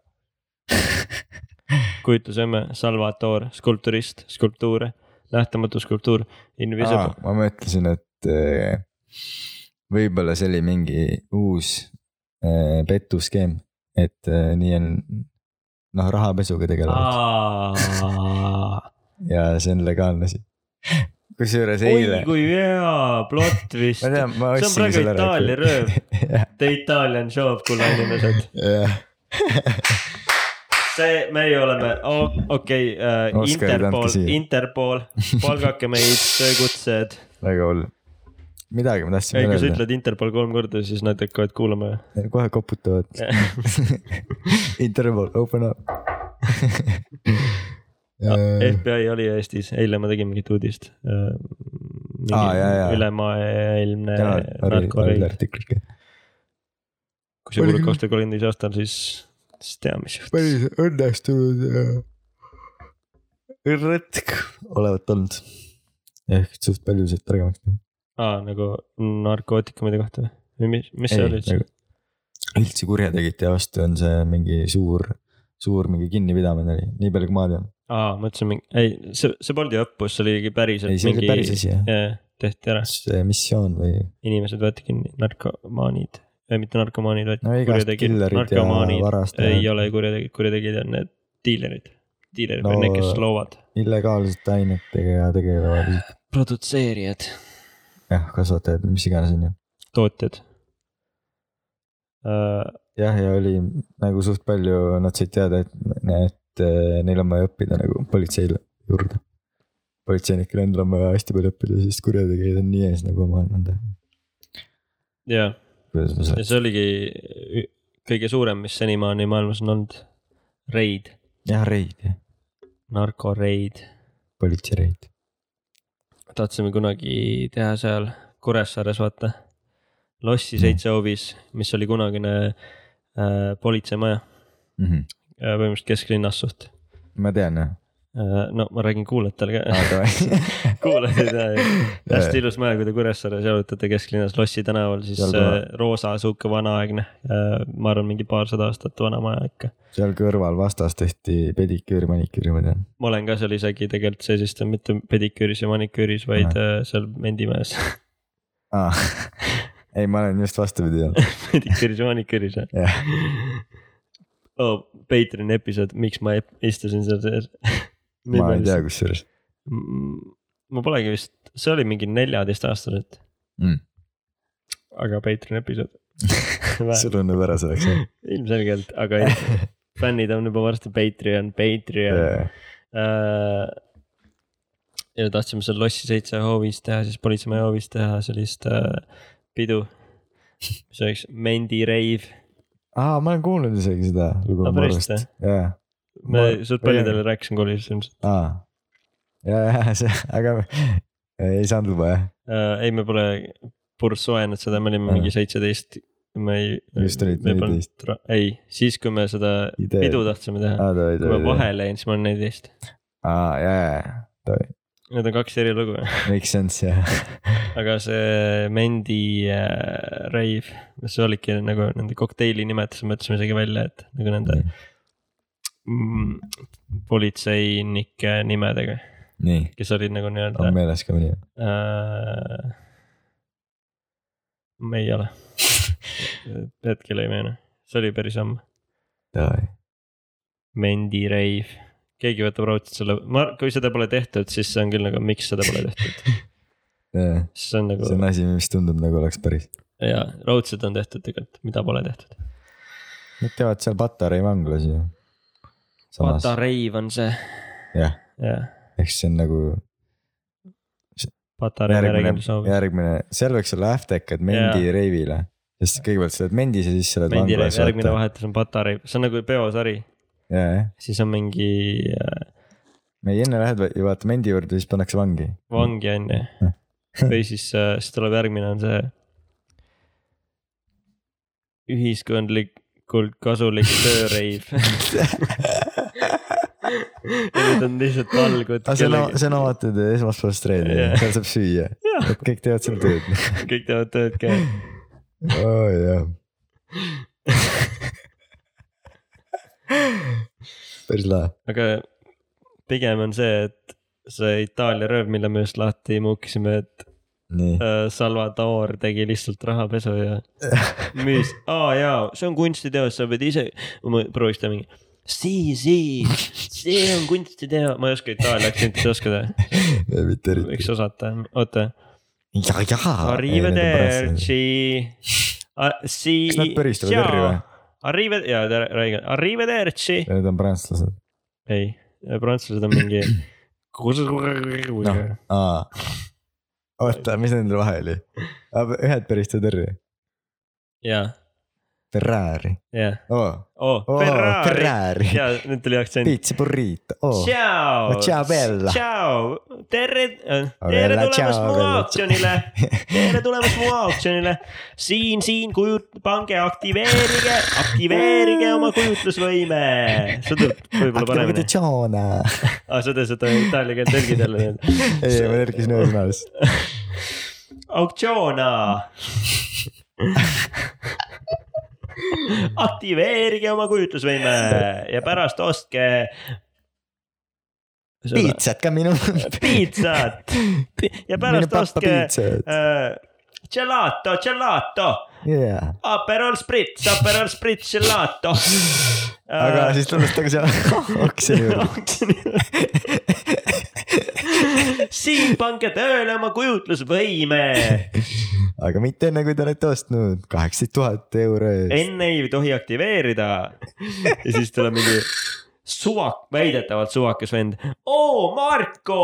S2: kujutlusvõime , Salvator , skulpturist , skulptuure , nähtamatu skulptuur , invisible .
S3: ma mõtlesin , et eh, võib-olla see oli mingi uus eh, petuskeem , et eh, nii on noh , rahapesuga tegelevad ja see on legaalne asi . kusjuures
S2: oi
S3: eile ,
S2: kui hea plott vist
S3: (laughs) ma . tean , ma
S2: See on
S3: ostsingi
S2: praegu
S3: selle ära .
S2: Itaalia rööv.
S3: jah ,
S2: The Italian Job , kulla inimesed ,
S3: (laughs) jah ,
S2: see , meie oleme , okei ,
S3: Oskar, ei
S2: Interpol
S3: tulnudki , siia. (laughs)
S2: Interpol , palgake meid , töökutsed .
S3: väga hull . midagi ma tahtsin
S2: ei , kui sa
S3: öelda ,
S2: ütled Interpol kolm korda , siis nad hakkavad kuulama ju .
S3: kohe
S2: (laughs)
S3: koputavad . (laughs) Interval , open up . Äh,
S2: FBI oli Eestis , eile ma tegin mingit uudist .
S3: Aa, jaa, jaa.
S2: ülemaailmne
S3: täna oli , oli
S2: narkoreid .
S3: artikkel ikka .
S2: kui sa kuulad kaks tuhat kolmteist aastal , siis , siis tea , mis juhtus .
S3: päris õnnestunud ja retk olevat olnud . ehk suht palju said targemaks .
S2: aa , nagu narkootikumide kohta või? või mis , mis see oli üldse ?
S3: nagu, üldse kurjategijate vastu on see mingi suur , suur mingi kinnipidamine oli , nii palju kui ma tean .
S2: aa , ma mõtlesin mingi , ei , see , see polnud ju õppus , see oli ikkagi päriselt
S3: ei , see
S2: mingi
S3: oli päris asi jah ,
S2: Jaa, tehti ära ,
S3: see missioon või
S2: inimesed võeti kinni , narkomaanid , mitte narkomaanid , vaid
S3: no igast
S2: kurjategijad ,
S3: killerid ja
S2: narkomaanid ei
S3: varastajad ,
S2: ole kurjategijad , kurjategijad on need diilerid , diilerid
S3: No-
S2: no, , need , kes loovad .
S3: illegaalsete ainetega tegelevad isikud ,
S2: produtseerijad ,
S3: jah , kasvatajad , mis iganes on ju .
S2: tootjad uh, .
S3: jah , ja oli nagu suht palju , nad said teada , et , et eh, neil on vaja õppida nagu politseile juurde . politseinikel endal on vaja hästi palju õppida , sest kurjategijad on nii ees nagu oma nende ,
S2: ja ,
S3: kuidas ma
S2: ja
S3: saan ,
S2: see oligi ü- kõige suurem , mis senimaani maailmas on olnud . reid ,
S3: jah reid jah ,
S2: narkoreid ,
S3: politseireid .
S2: tahtsime kunagi teha seal Kuressaares , vaata . lossi seitse hoovis , mis oli kunagine äh, politseimaja
S3: Mm -hmm.
S2: äh, , põhimõtteliselt kesklinnas suht
S3: ma tean jah ,
S2: äh, . no ma räägin kuulajatele ka
S3: aga
S2: (laughs) kuulajad ei tea ju , hästi
S3: Jaa.
S2: ilus maja , kui te Kuressaares jalutate kesklinnas Lossi tänaval , siis
S3: Seal
S2: äh,
S3: kohe.
S2: roosa sihuke vanaaegne , ma arvan , mingi paarsada aastat vana maja ikka .
S3: seal kõrval vastas tehti pediküüri , maniküüri , ma tean .
S2: ma olen ka seal isegi tegelikult seesistanud (laughs) mitte pediküüris ja maniküüris , vaid äh, seal Mendimäes .
S3: aa , (laughs) ei , ma olen just vastupidi
S2: (laughs)
S3: olnud .
S2: veidi kirjaanik kõris või ?
S3: jah ,
S2: (laughs) oo , Oh, Patreon'i episood , miks ma ep- istusin seal sees . (laughs)
S3: ma ei tea , kusjuures .
S2: ma polegi vist , see oli mingi neljateistaastaselt
S3: Mm. .
S2: aga Patreon'i episood .
S3: sul uneb ära selleks .
S2: (laughs) ilmselgelt , aga ei, fännid on juba varsti Patreon , Patreon yeah. . ja tahtsime seal lossi seitse hoovis teha , siis politseimaja hoovis teha sellist äh, pidu , mis oleks Mendi reiv .
S3: aa , ma olen kuulnud isegi seda lugu
S2: Aa,
S3: mu
S2: päriselt,
S3: arust . jaa ,
S2: ma
S3: Ma-
S2: suht paljudele rääkisin koolis ilmselt
S3: aa . jaa , (laughs) see , aga ei saanud luba jah ,
S2: äh, . ei , me pole purss soojanud seda , me olime
S3: Aa.
S2: mingi seitseteist , me ei .
S3: Just olid 14. .
S2: ei , siis kui me seda
S3: idee .
S2: pidu tahtsime teha ,
S3: aa , davai ,
S2: kui me
S3: davai .
S2: vahele jäin , siis ma olin neliteist .
S3: aa , jaa , jaa , davai ,
S2: Need on kaks eri lugu ,
S3: makes sense
S2: (laughs)
S3: jah .
S2: aga see Mendi äh, reiv , see oligi nagu nende kokteili nimetus , mõtlesime isegi välja , et nagu nende mm, politseinike nimedega ,
S3: nii ,
S2: kes olid nagu nii-öelda
S3: on . meeles ka mõni .
S2: Äh, me ei ole . (laughs) hetkel ei meenu , see oli päris ammu .
S3: davai ,
S2: Mendi reiv , keegi võtab raudselt selle , ma , kui seda pole tehtud , siis see on küll nagu , miks seda pole tehtud ,
S3: see
S2: siis see on nagu
S3: on asi , mis tundub nagu oleks päris .
S2: ja raudselt on tehtud tegelikult , mida pole tehtud .
S3: Nad teevad seal Patarei vanglas ju . samas ,
S2: patareiv on see ,
S3: jah ,
S2: jah ,
S3: ehk siis see on nagu
S2: patarei
S3: järgmine
S2: merekindlus , hoovis .
S3: järgmine , seal võiks olla hashtag , et Mendi reivile . sest kõigepealt sa oled Mendis ja siis sa oled
S2: Mendi reiv ,
S3: vanglas .
S2: järgmine vahetus on patareiv , see on nagu peosari ,
S3: ja , jah ,
S2: siis on mingi äh,
S3: me ei enne lähed ju vaata Mendi juurde , siis pannakse vangi .
S2: vangi on
S3: (laughs)
S2: ju , või siis , siis tuleb järgmine on see . ühiskondlikult kasulik
S3: (laughs)
S2: tööreiv . Need on lihtsalt valgud
S3: aga . Ah, see on , see on omaette esmaspäevast reede
S2: Jah. ,
S3: seal saab süüa , et kõik teevad seal (laughs) tööd .
S2: kõik teevad tööd ka
S3: oo (laughs) jah .
S2: (laughs)
S3: päris lahe ,
S2: aga pigem on see , et see Itaalia rööv , mille me just lahti muukisime , et
S3: nii , (laughs)
S2: äh, Salvador tegi lihtsalt rahapesu ja müüs , aa jaa , see on kunstiteos , sa pead ise , ma prooviks teha mingi . Si , si , see on kunstiteo , ma ei oska Itaalia aktsenti oskada ,
S3: mitte
S2: võiks
S3: eriti .
S2: osata , oota .
S3: ja , ja .
S2: Arrivederci . Si .
S3: Kas nad pöristavad R-i või? ?
S2: Arrive- , jaa , tere , Raigo , Arrivederci .
S3: Need on prantslased ,
S2: ei , prantslased on mingi .
S3: Noh. aa . oota , mis nendel vahe oli ? ühed päristavad R-i ,
S2: jaa ,
S3: Ferrari
S2: jaa ,
S3: oo ,
S2: oo ,
S3: oo ,
S2: Ferrari .
S3: Ferrari ,
S2: jaa , nüüd tuli aktsent .
S3: pitsi burrito , Oh. oo .
S2: Ciao .
S3: Ciao, bella.
S2: Ciao , tere , tere
S3: Bella,
S2: tulemast
S3: ciao,
S2: mu
S3: bella,
S2: auktsionile . tere tulemast mu auktsionile . siin , siin kujut- , pange , aktiveerige , aktiveerige oma kujutlusvõime . see tuleb võib-olla paremini . aa , sa teed seda itaalia keelt tõlgid
S3: (laughs)
S2: jälle nüüd .
S3: ei , ma nõrkisin ühe sõna
S2: (laughs)
S3: vist .
S2: Auktsioona . aktiveerige oma kujutlusvõime ja pärast ostke .
S3: piitsad ka minu . (laughs)
S2: piitsat ja pärast ostke . Äh, Gelato , gelato ,
S3: jaa ,
S2: Aperol Spritz , Aperol Spritz , gelato .
S3: aga siis tunnustage (laughs) seal oksjoni juurde .
S2: siin pange tööle oma kujutlusvõime ,
S3: (laughs) aga mitte enne , kui te olete ostnud kaheksateist tuhat euro eest .
S2: enne ei tohi aktiveerida . ja siis tuleb mingi suvak , väidetavalt suvakas vend . oo , Marko ,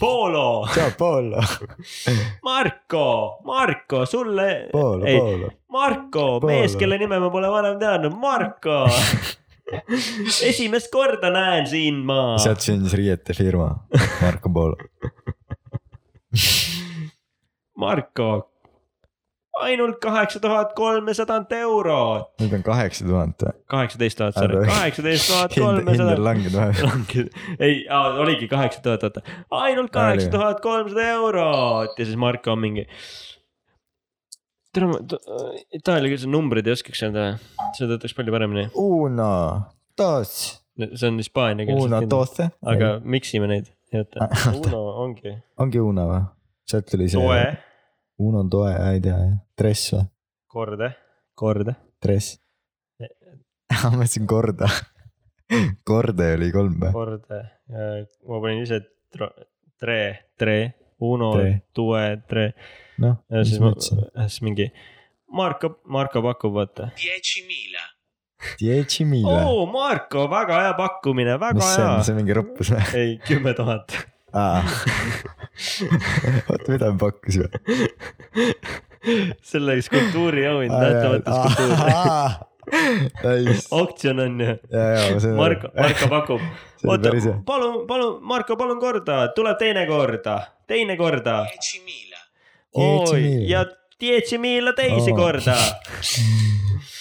S2: Polo ,
S3: (laughs) tšau , Paolo ,
S2: Marko , Marko , sulle .
S3: Paolo , Paolo .
S2: Marko ,
S3: Paolo.
S2: mees , kelle nime ma pole varem teadnud ,
S3: (laughs)
S2: Marko . esimest korda näen siin ma .
S3: sealt sündis riiete firma , Marko Paolo .
S2: Marko , ainult kaheksa tuhat kolmesadat eurot .
S3: nüüd on kaheksa tuhat või ?
S2: kaheksateist tuhat , sorry ,
S3: Aga-
S2: kaheksateist tuhat
S3: (laughs) hind , hind on
S2: kolmesada .
S3: langenud vahepeal .
S2: (laughs) ei , oligi kaheksa tuhat , oota , ainult
S3: Aa, oli.
S2: kaheksa tuhat kolmsada eurot ja siis Marko on mingi . tere , ma t- Itaalia keelse numbreid ei oskaks öelda , see töötaks palju paremini ,
S3: Uno , dos ,
S2: see on hispaania
S3: uno ,
S2: keeles .
S3: doce .
S2: aga miksime neid , oota
S3: Ah, , oota.
S2: Uno ongi .
S3: ongi Uno või ? sealt tuli see .
S2: Toe ,
S3: Uno Toe , ei tea jah , dress või ,
S2: korda , korda .
S3: dress . (laughs) ma mõtlesin korda , korda oli kolm või ?
S2: kord , ma panin ise tro- tre , tre , uno
S3: Tre. ,
S2: tue , tre
S3: noh ,
S2: ja
S3: mis
S2: siis
S3: ma
S2: ma ,
S3: ütlesin ,
S2: siis mingi Marko , Marko pakub , vaata .
S5: 10.000.
S3: Dieci Mille .
S2: oo , Marko , väga hea pakkumine , väga
S3: mis see on ,
S2: hea .
S3: see on mingi roppus või ?
S2: (laughs) ei , kümme tuhat . (laughs)
S3: (laughs) oot , mida me pakkusime ?
S2: selleks kultuuriauhind , nähtamatus kultuur .
S3: (laughs) nice ,
S2: oktsioon
S3: (laughs)
S2: on ju .
S3: ja , ja ma saan
S2: Marko , Marko pakub ,
S3: see on
S2: oota
S3: päris hea .,
S2: palun , palun , Marko , palun korda , tuleb teine korda , teine korda .
S5: 10.000.
S2: oi ,
S3: Diecimila.
S2: ja Diecimila teise
S3: Oo. (laughs)
S2: korda .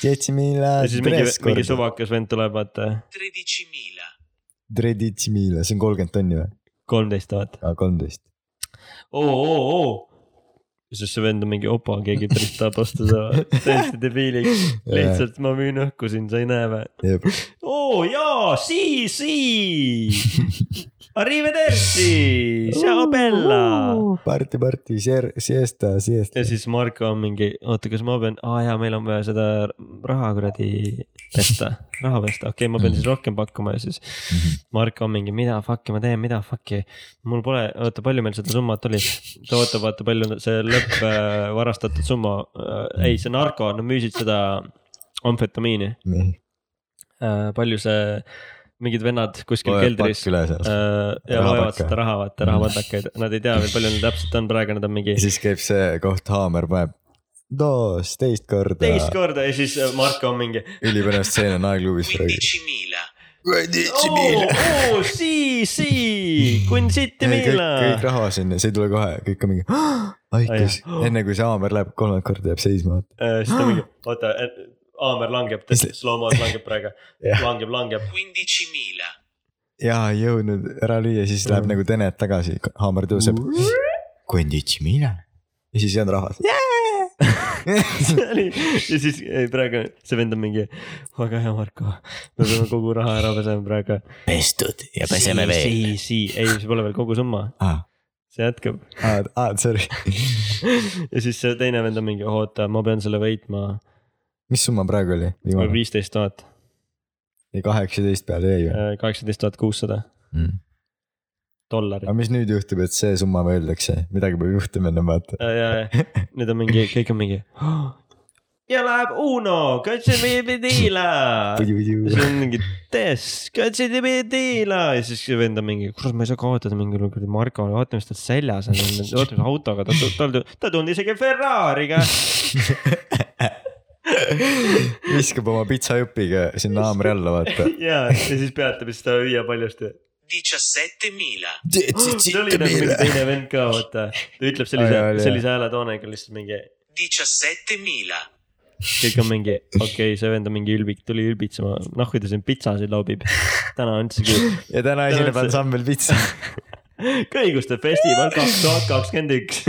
S3: Dieci Mille
S2: ja siis mingi
S3: dress ,
S2: mingi
S3: korda .
S2: suvakas vend tuleb , vaata ,
S5: tredicimila,
S3: Dieci Mille , see on kolmkümmend tonni või ?
S2: kolmteist tuhat .
S3: aa , kolmteist .
S2: oo , oo , oo . siis see vend on mingi opa , keegi päris tahab osta
S3: (laughs)
S2: seda , täiesti debiiliks . lihtsalt ma müün õhku siin , sa ei näe või ?
S3: jep ,
S2: oo jaa , si , si . Arrivederci , ciao bella .
S3: party , party , siesta , siesta
S2: ja . siis Marko on mingi , oota , kas ma pean , aa jaa , meil on vaja seda raha kuradi pesta , (laughs) raha pesta , okei okay, , ma pean siis rohkem pakkuma ja siis .
S3: Mhm.
S2: Marko on mingi , mida fuck'i ma teen , mida fuck'i , mul pole , oota , palju meil seda summat oli ? ta ootab , vaata , palju see lõpp äh, varastatud summa äh, , ei , see narko , nad müüsid seda amfetamiini
S3: nii ,
S2: äh, , palju see , mingid vennad kuskil
S3: loe
S2: keldris
S3: pakk üle seal .
S2: äh, ja
S3: Rahapakka.
S2: loevad seda raha , vaata , rahapatakaid , nad ei tea veel , palju neil täpselt on , praegu nad on mingi
S3: ja siis käib see koht , haamer paneb dos teist korda .
S2: teist korda ja siis äh, Marko on mingi .
S3: ülipõnev stseen on A-klubis praegu .
S5: 15.000,
S2: "Oh, oo , oo , sii , sii , kun sitti
S3: kõik , kõik
S2: millä .
S3: raha sinna , see ei tule kohe , kõik on mingi vaikus , enne kui see haamer läheb kolmandat korda jääb seisma .
S2: Äh, siis ta
S3: (gasps)
S2: mingi , oota , haamer langeb , ta
S3: Mis-
S2: slow-mo's langeb praegu ,
S3: (laughs) Jah.
S2: langeb ,
S3: (laughs)
S2: langeb .
S5: 15.000,
S3: ja ei jõudnud ära lüüa , siis läheb nagu Tenet tagasi , haamer tõuseb .
S2: (laughs)
S3: konditsimine . ja siis ei olnud (laughs) rahas .
S2: ja siis ei, praegu see vend on mingi , väga hea , Marko , me peame kogu raha ära pesema praegu .
S3: pestud ja Ah.
S2: sii , sii , ei , see pole veel kogu summa ,
S3: aa ,
S2: see jätkab .
S3: aa , Ah, sorry ,
S2: (laughs) ja siis see teine vend on mingi , oota , ma pean selle võitma ,
S3: mis summa praegu oli viimane ?
S2: viisteist tuhat ,
S3: kaheksateist peale jäi või ?
S2: kaheksateist tuhat kuussada dollarit
S3: aga . mis nüüd juhtub , et see summa öeldakse , midagi peab juhtuma enne vaata .
S2: ja , ja , ja nüüd on mingi , kõik on mingi . ja läheb Uno , katsepidila . siis on mingi Tess , katsepidila ja siis see vend on mingi , kurat , ma ei saa kaotada mingil kuradi Marko , vaata , mis tal seljas on , vaata , mis autoga ta , tal , ta tulnud isegi Ferrari'ga .
S3: viskab oma pitsajupiga sinna haamri alla vaata .
S2: ja , ja siis peatab ja siis ta hüüab paljusti .
S5: 17.000,
S2: see oli nagu mingi teine vend ka , vaata . ta
S3: Aa,
S2: ütleb
S3: jaa,
S2: sellise
S3: oli, ,
S2: sellise hääletoonega lihtsalt mingi ,
S5: 17.000,
S2: kõik on mingi , okei okay, , see vend on mingi ülbik , tuli ülbitsema , noh , kui ta siin pitsasid loobib . täna on üldse küll
S3: ja täna esineb
S2: see-
S3: ansambel Pitsa
S2: kõiguste festival kaks tuhat kakskümmend
S3: (laughs)
S2: üks .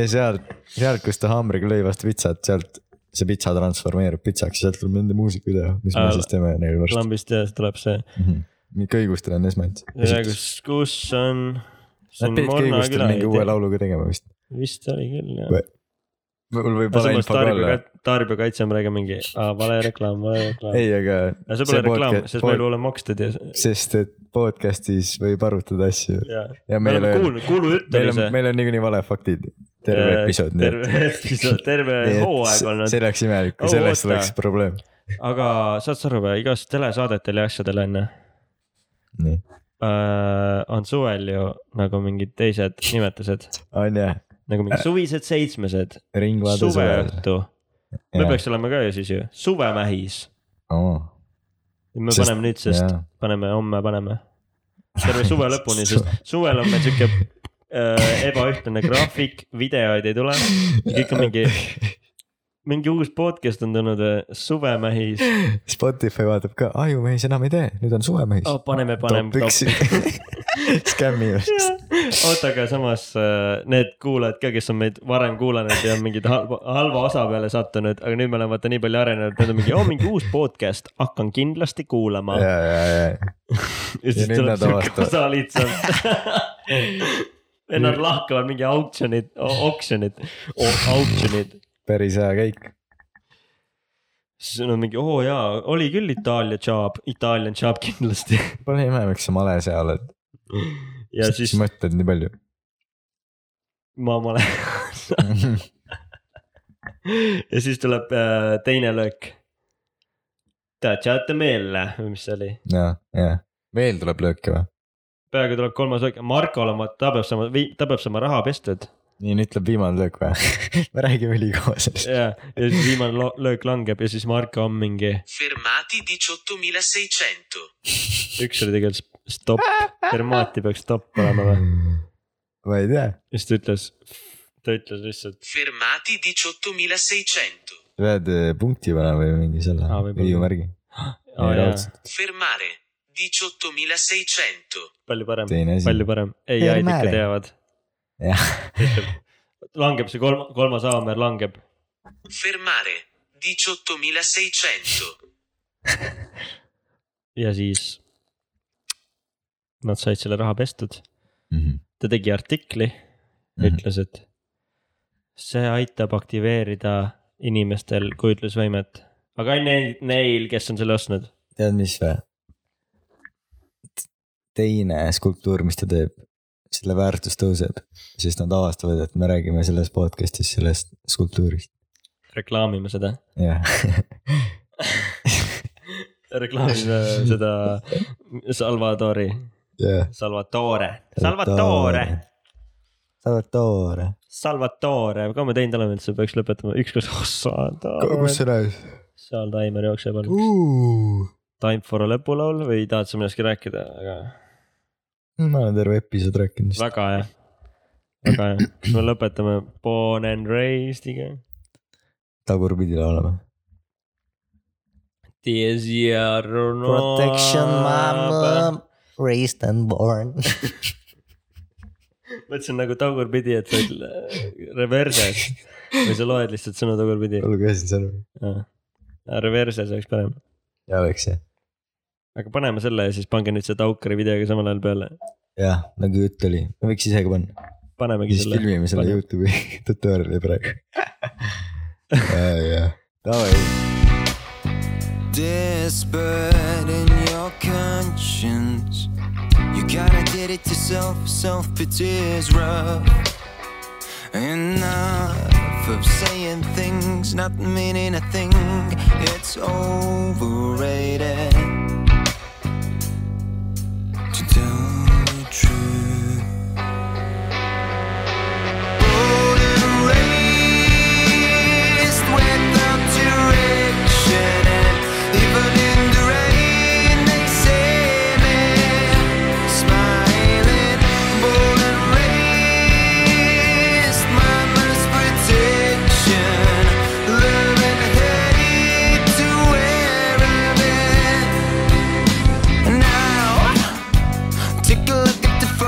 S3: ja sealt , sealt , kus ta haamriga lõi vastu pitsat , sealt see pitsa transformeerub pitsaks ja sealt tuleb nende muusikavideo , mis me
S2: Aa,
S3: siis teeme neil varsti .
S2: lambist jah , tuleb see ,
S3: kõigustel on esmalt .
S2: kus , kus on , see
S3: Nad
S2: on
S3: pidid
S2: Morna
S3: kõigustel
S2: küla ,
S3: mingi uue lauluga tegema vist .
S2: vist oli küll jah
S3: Või- . mul võib vale info ka olla .
S2: tarbijakaitse on praegu mingi aa, vale reklaam , vale reklaam .
S3: ei , aga .
S2: aga see pole reklaam , sest meil pole makstud ja ,
S3: sest et podcast'is võib arutada asju
S2: ja .
S3: ja
S2: me
S3: meil
S2: oleme
S3: on ,
S2: kuulnud , kuulujutt
S3: meil
S2: oli
S3: on ,
S2: see .
S3: meil on niikuinii valefaktid . terve episood , nii et-
S2: terve (laughs) episood , terve
S3: (laughs) nii et .
S2: hooaeg olnud
S3: see . oleks imelik , kui
S2: Oh,
S3: sellest
S2: oota.
S3: oleks probleem .
S2: aga saad sa aru või , igas telesaadetel ja asjadel on ju
S3: nii ,
S2: äh, on suvel ju nagu mingid teised nimetused ,
S3: on jah ,
S2: nagu
S3: Äh.
S2: mingid suvised seitsmesed ,
S3: ringvaade suvel .
S2: suveõhtu . me
S3: Jaa.
S2: peaks olema ka ju siis ju , suvemähis . me
S3: Sest-
S2: sest, paneme nüüd , sest
S3: jaa.
S2: yeah. paneme homme , paneme . terve
S3: (laughs)
S2: suve lõpuni , sest suvel on meil sihuke äh, ebaühtlane graafik , videoid ei tule . kõik on mingi , mingi uus podcast on tulnud , suvemähis
S3: (laughs) Spotify vaatab ka , ajumees enam ei tee , nüüd on suvemehis
S2: oh, . paneme , paneme
S3: top
S2: top .
S3: üks (laughs) skämmi
S2: (laughs)
S3: juures .
S2: oota , aga samas äh, need kuulajad ka , kes on meid varem kuulanud ja on mingid halva , halva osa peale sattunud , aga nüüd me oleme vaata nii palju arenenud , nüüd on mingi , oo mingi uus podcast , hakkan kindlasti kuulama .
S3: ja , ja , ja ,
S2: ja siis
S3: nüüd
S2: tuleb
S3: nad
S2: siuke
S3: avastavad.
S2: osa lihtsalt . Nad lahkavad mingi auktsionid , auktsionid , auktsionid .
S3: päris hea käik .
S2: siis on mingi oo jaa , oli küll Itaalia job , Italian job kindlasti .
S3: Pole ime , miks sa male seal oled .
S2: ja siis
S3: mõtled nii palju .
S2: ma male . ja siis tuleb äh, teine löök . Tacciate meele või mis see oli ,
S3: ja , ja veel tuleb lööke või ?
S2: peaaegu tuleb kolmas löök , Markol on , ta peab saama , ta peab saama raha pestud
S3: nii nüüd tuleb viimane löök või ? me räägime ülikooli sellest .
S2: ja , ja siis viimane lo- löök langeb ja siis Marko on mingi ,
S5: Fermati 18.600.
S2: üks oli tegelikult stopp , Fermati peaks stopp olema või ,
S3: Hmm. ma ei tea ,
S2: siis ta ütles , ta ütles lihtsalt ,
S5: Fermati 18.600.
S3: pead eh, punkti panema või mingi selle
S2: Aa, võib-olla.
S3: viiumärgi .
S2: aa jaa ,
S5: Fermare. 18.600.
S2: palju parem ,
S3: teine asi .
S2: palju parem , ei jäid ikka
S3: Fermare.
S2: teavad ,
S3: jah ,
S2: langeb see kolm , kolmas haamer langeb ,
S5: Fermare. 18.600.
S2: ja siis nad said selle raha pestud . ta tegi artikli ,
S3: Mhm.
S2: ütles , et see aitab aktiveerida inimestel kujutlusvõimet , aga ainult neil, neil , kes on selle ostnud .
S3: tead mis või ? teine skulptuur , mis ta teeb , selle väärtus tõuseb , sest nad avastavad , et me räägime selles podcast'is sellest skulptuurist .
S2: reklaamime seda ,
S3: jah , (laughs)
S2: reklaamime seda Salvadori ,
S3: jah .
S2: Salvatore , Salvatore ,.
S3: Salvatore .
S2: Salvatore , kui ma teinud olen , et see peaks lõpetama , ükskord , ossa ,
S3: see näis ?
S2: seal taimer jookseb , on Time for a lõpulaul või tahad sa millestki rääkida , aga
S3: ma olen terve episood rääkinud vist .
S2: väga hea , väga hea , me lõpetame Born and Raised'iga
S3: tagurpidi laulame .
S2: Desiaro no
S6: Protection, my mom, raised and born.
S2: (laughs)
S6: (laughs)
S2: mõtlesin nagu tagurpidi , et sa oled reverse'is või sa loed lihtsalt sõna tagurpidi .
S3: lugesin selle .
S2: Reverse'is oleks parem ,
S3: ja oleks jah .
S2: aga paneme selle ja siis pange nüüd see Taukari videoga samal ajal peale ,
S3: jah , nagu jutt oli , me võiks ise ka panna .
S2: panemegi
S3: siis
S2: selle .
S3: filmime selle
S2: Pane.
S3: Youtube'i (laughs) tutorial'i praegu ja ,
S2: (laughs)
S3: ja . Davai .
S6: This bird in your conscience. You kinda did it yourself, self pity's rough. Enough of saying things, not meaning a thing, it's overrated. To tell the truth. Born and raised without direction, and even in the rain they save me, smiling. Born and raised, mama's protection, love and hate to wear it. Now take a look at the phone.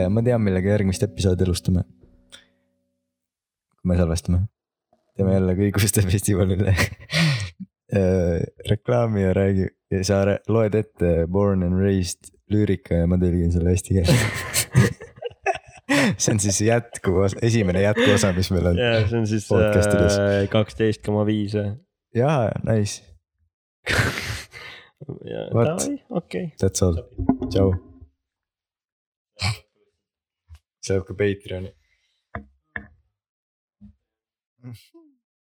S3: ja ma tean , millega järgmist episoodi alustame . kui me salvestame , teeme jälle kõiguste festivalile reklaami ja räägi , sa rää- loed ette Born and Raised lüürika ja ma tõlgin selle eesti keelde . see on siis jätkuosa , esimene jätkuosa , mis meil on .
S2: ja see on siis äh,
S3: Podcastides.
S2: kaksteist koma viis .
S3: jaa , nice , Vot.
S2: okei .
S3: that's all , tšau . see läheb ka Patreon'i .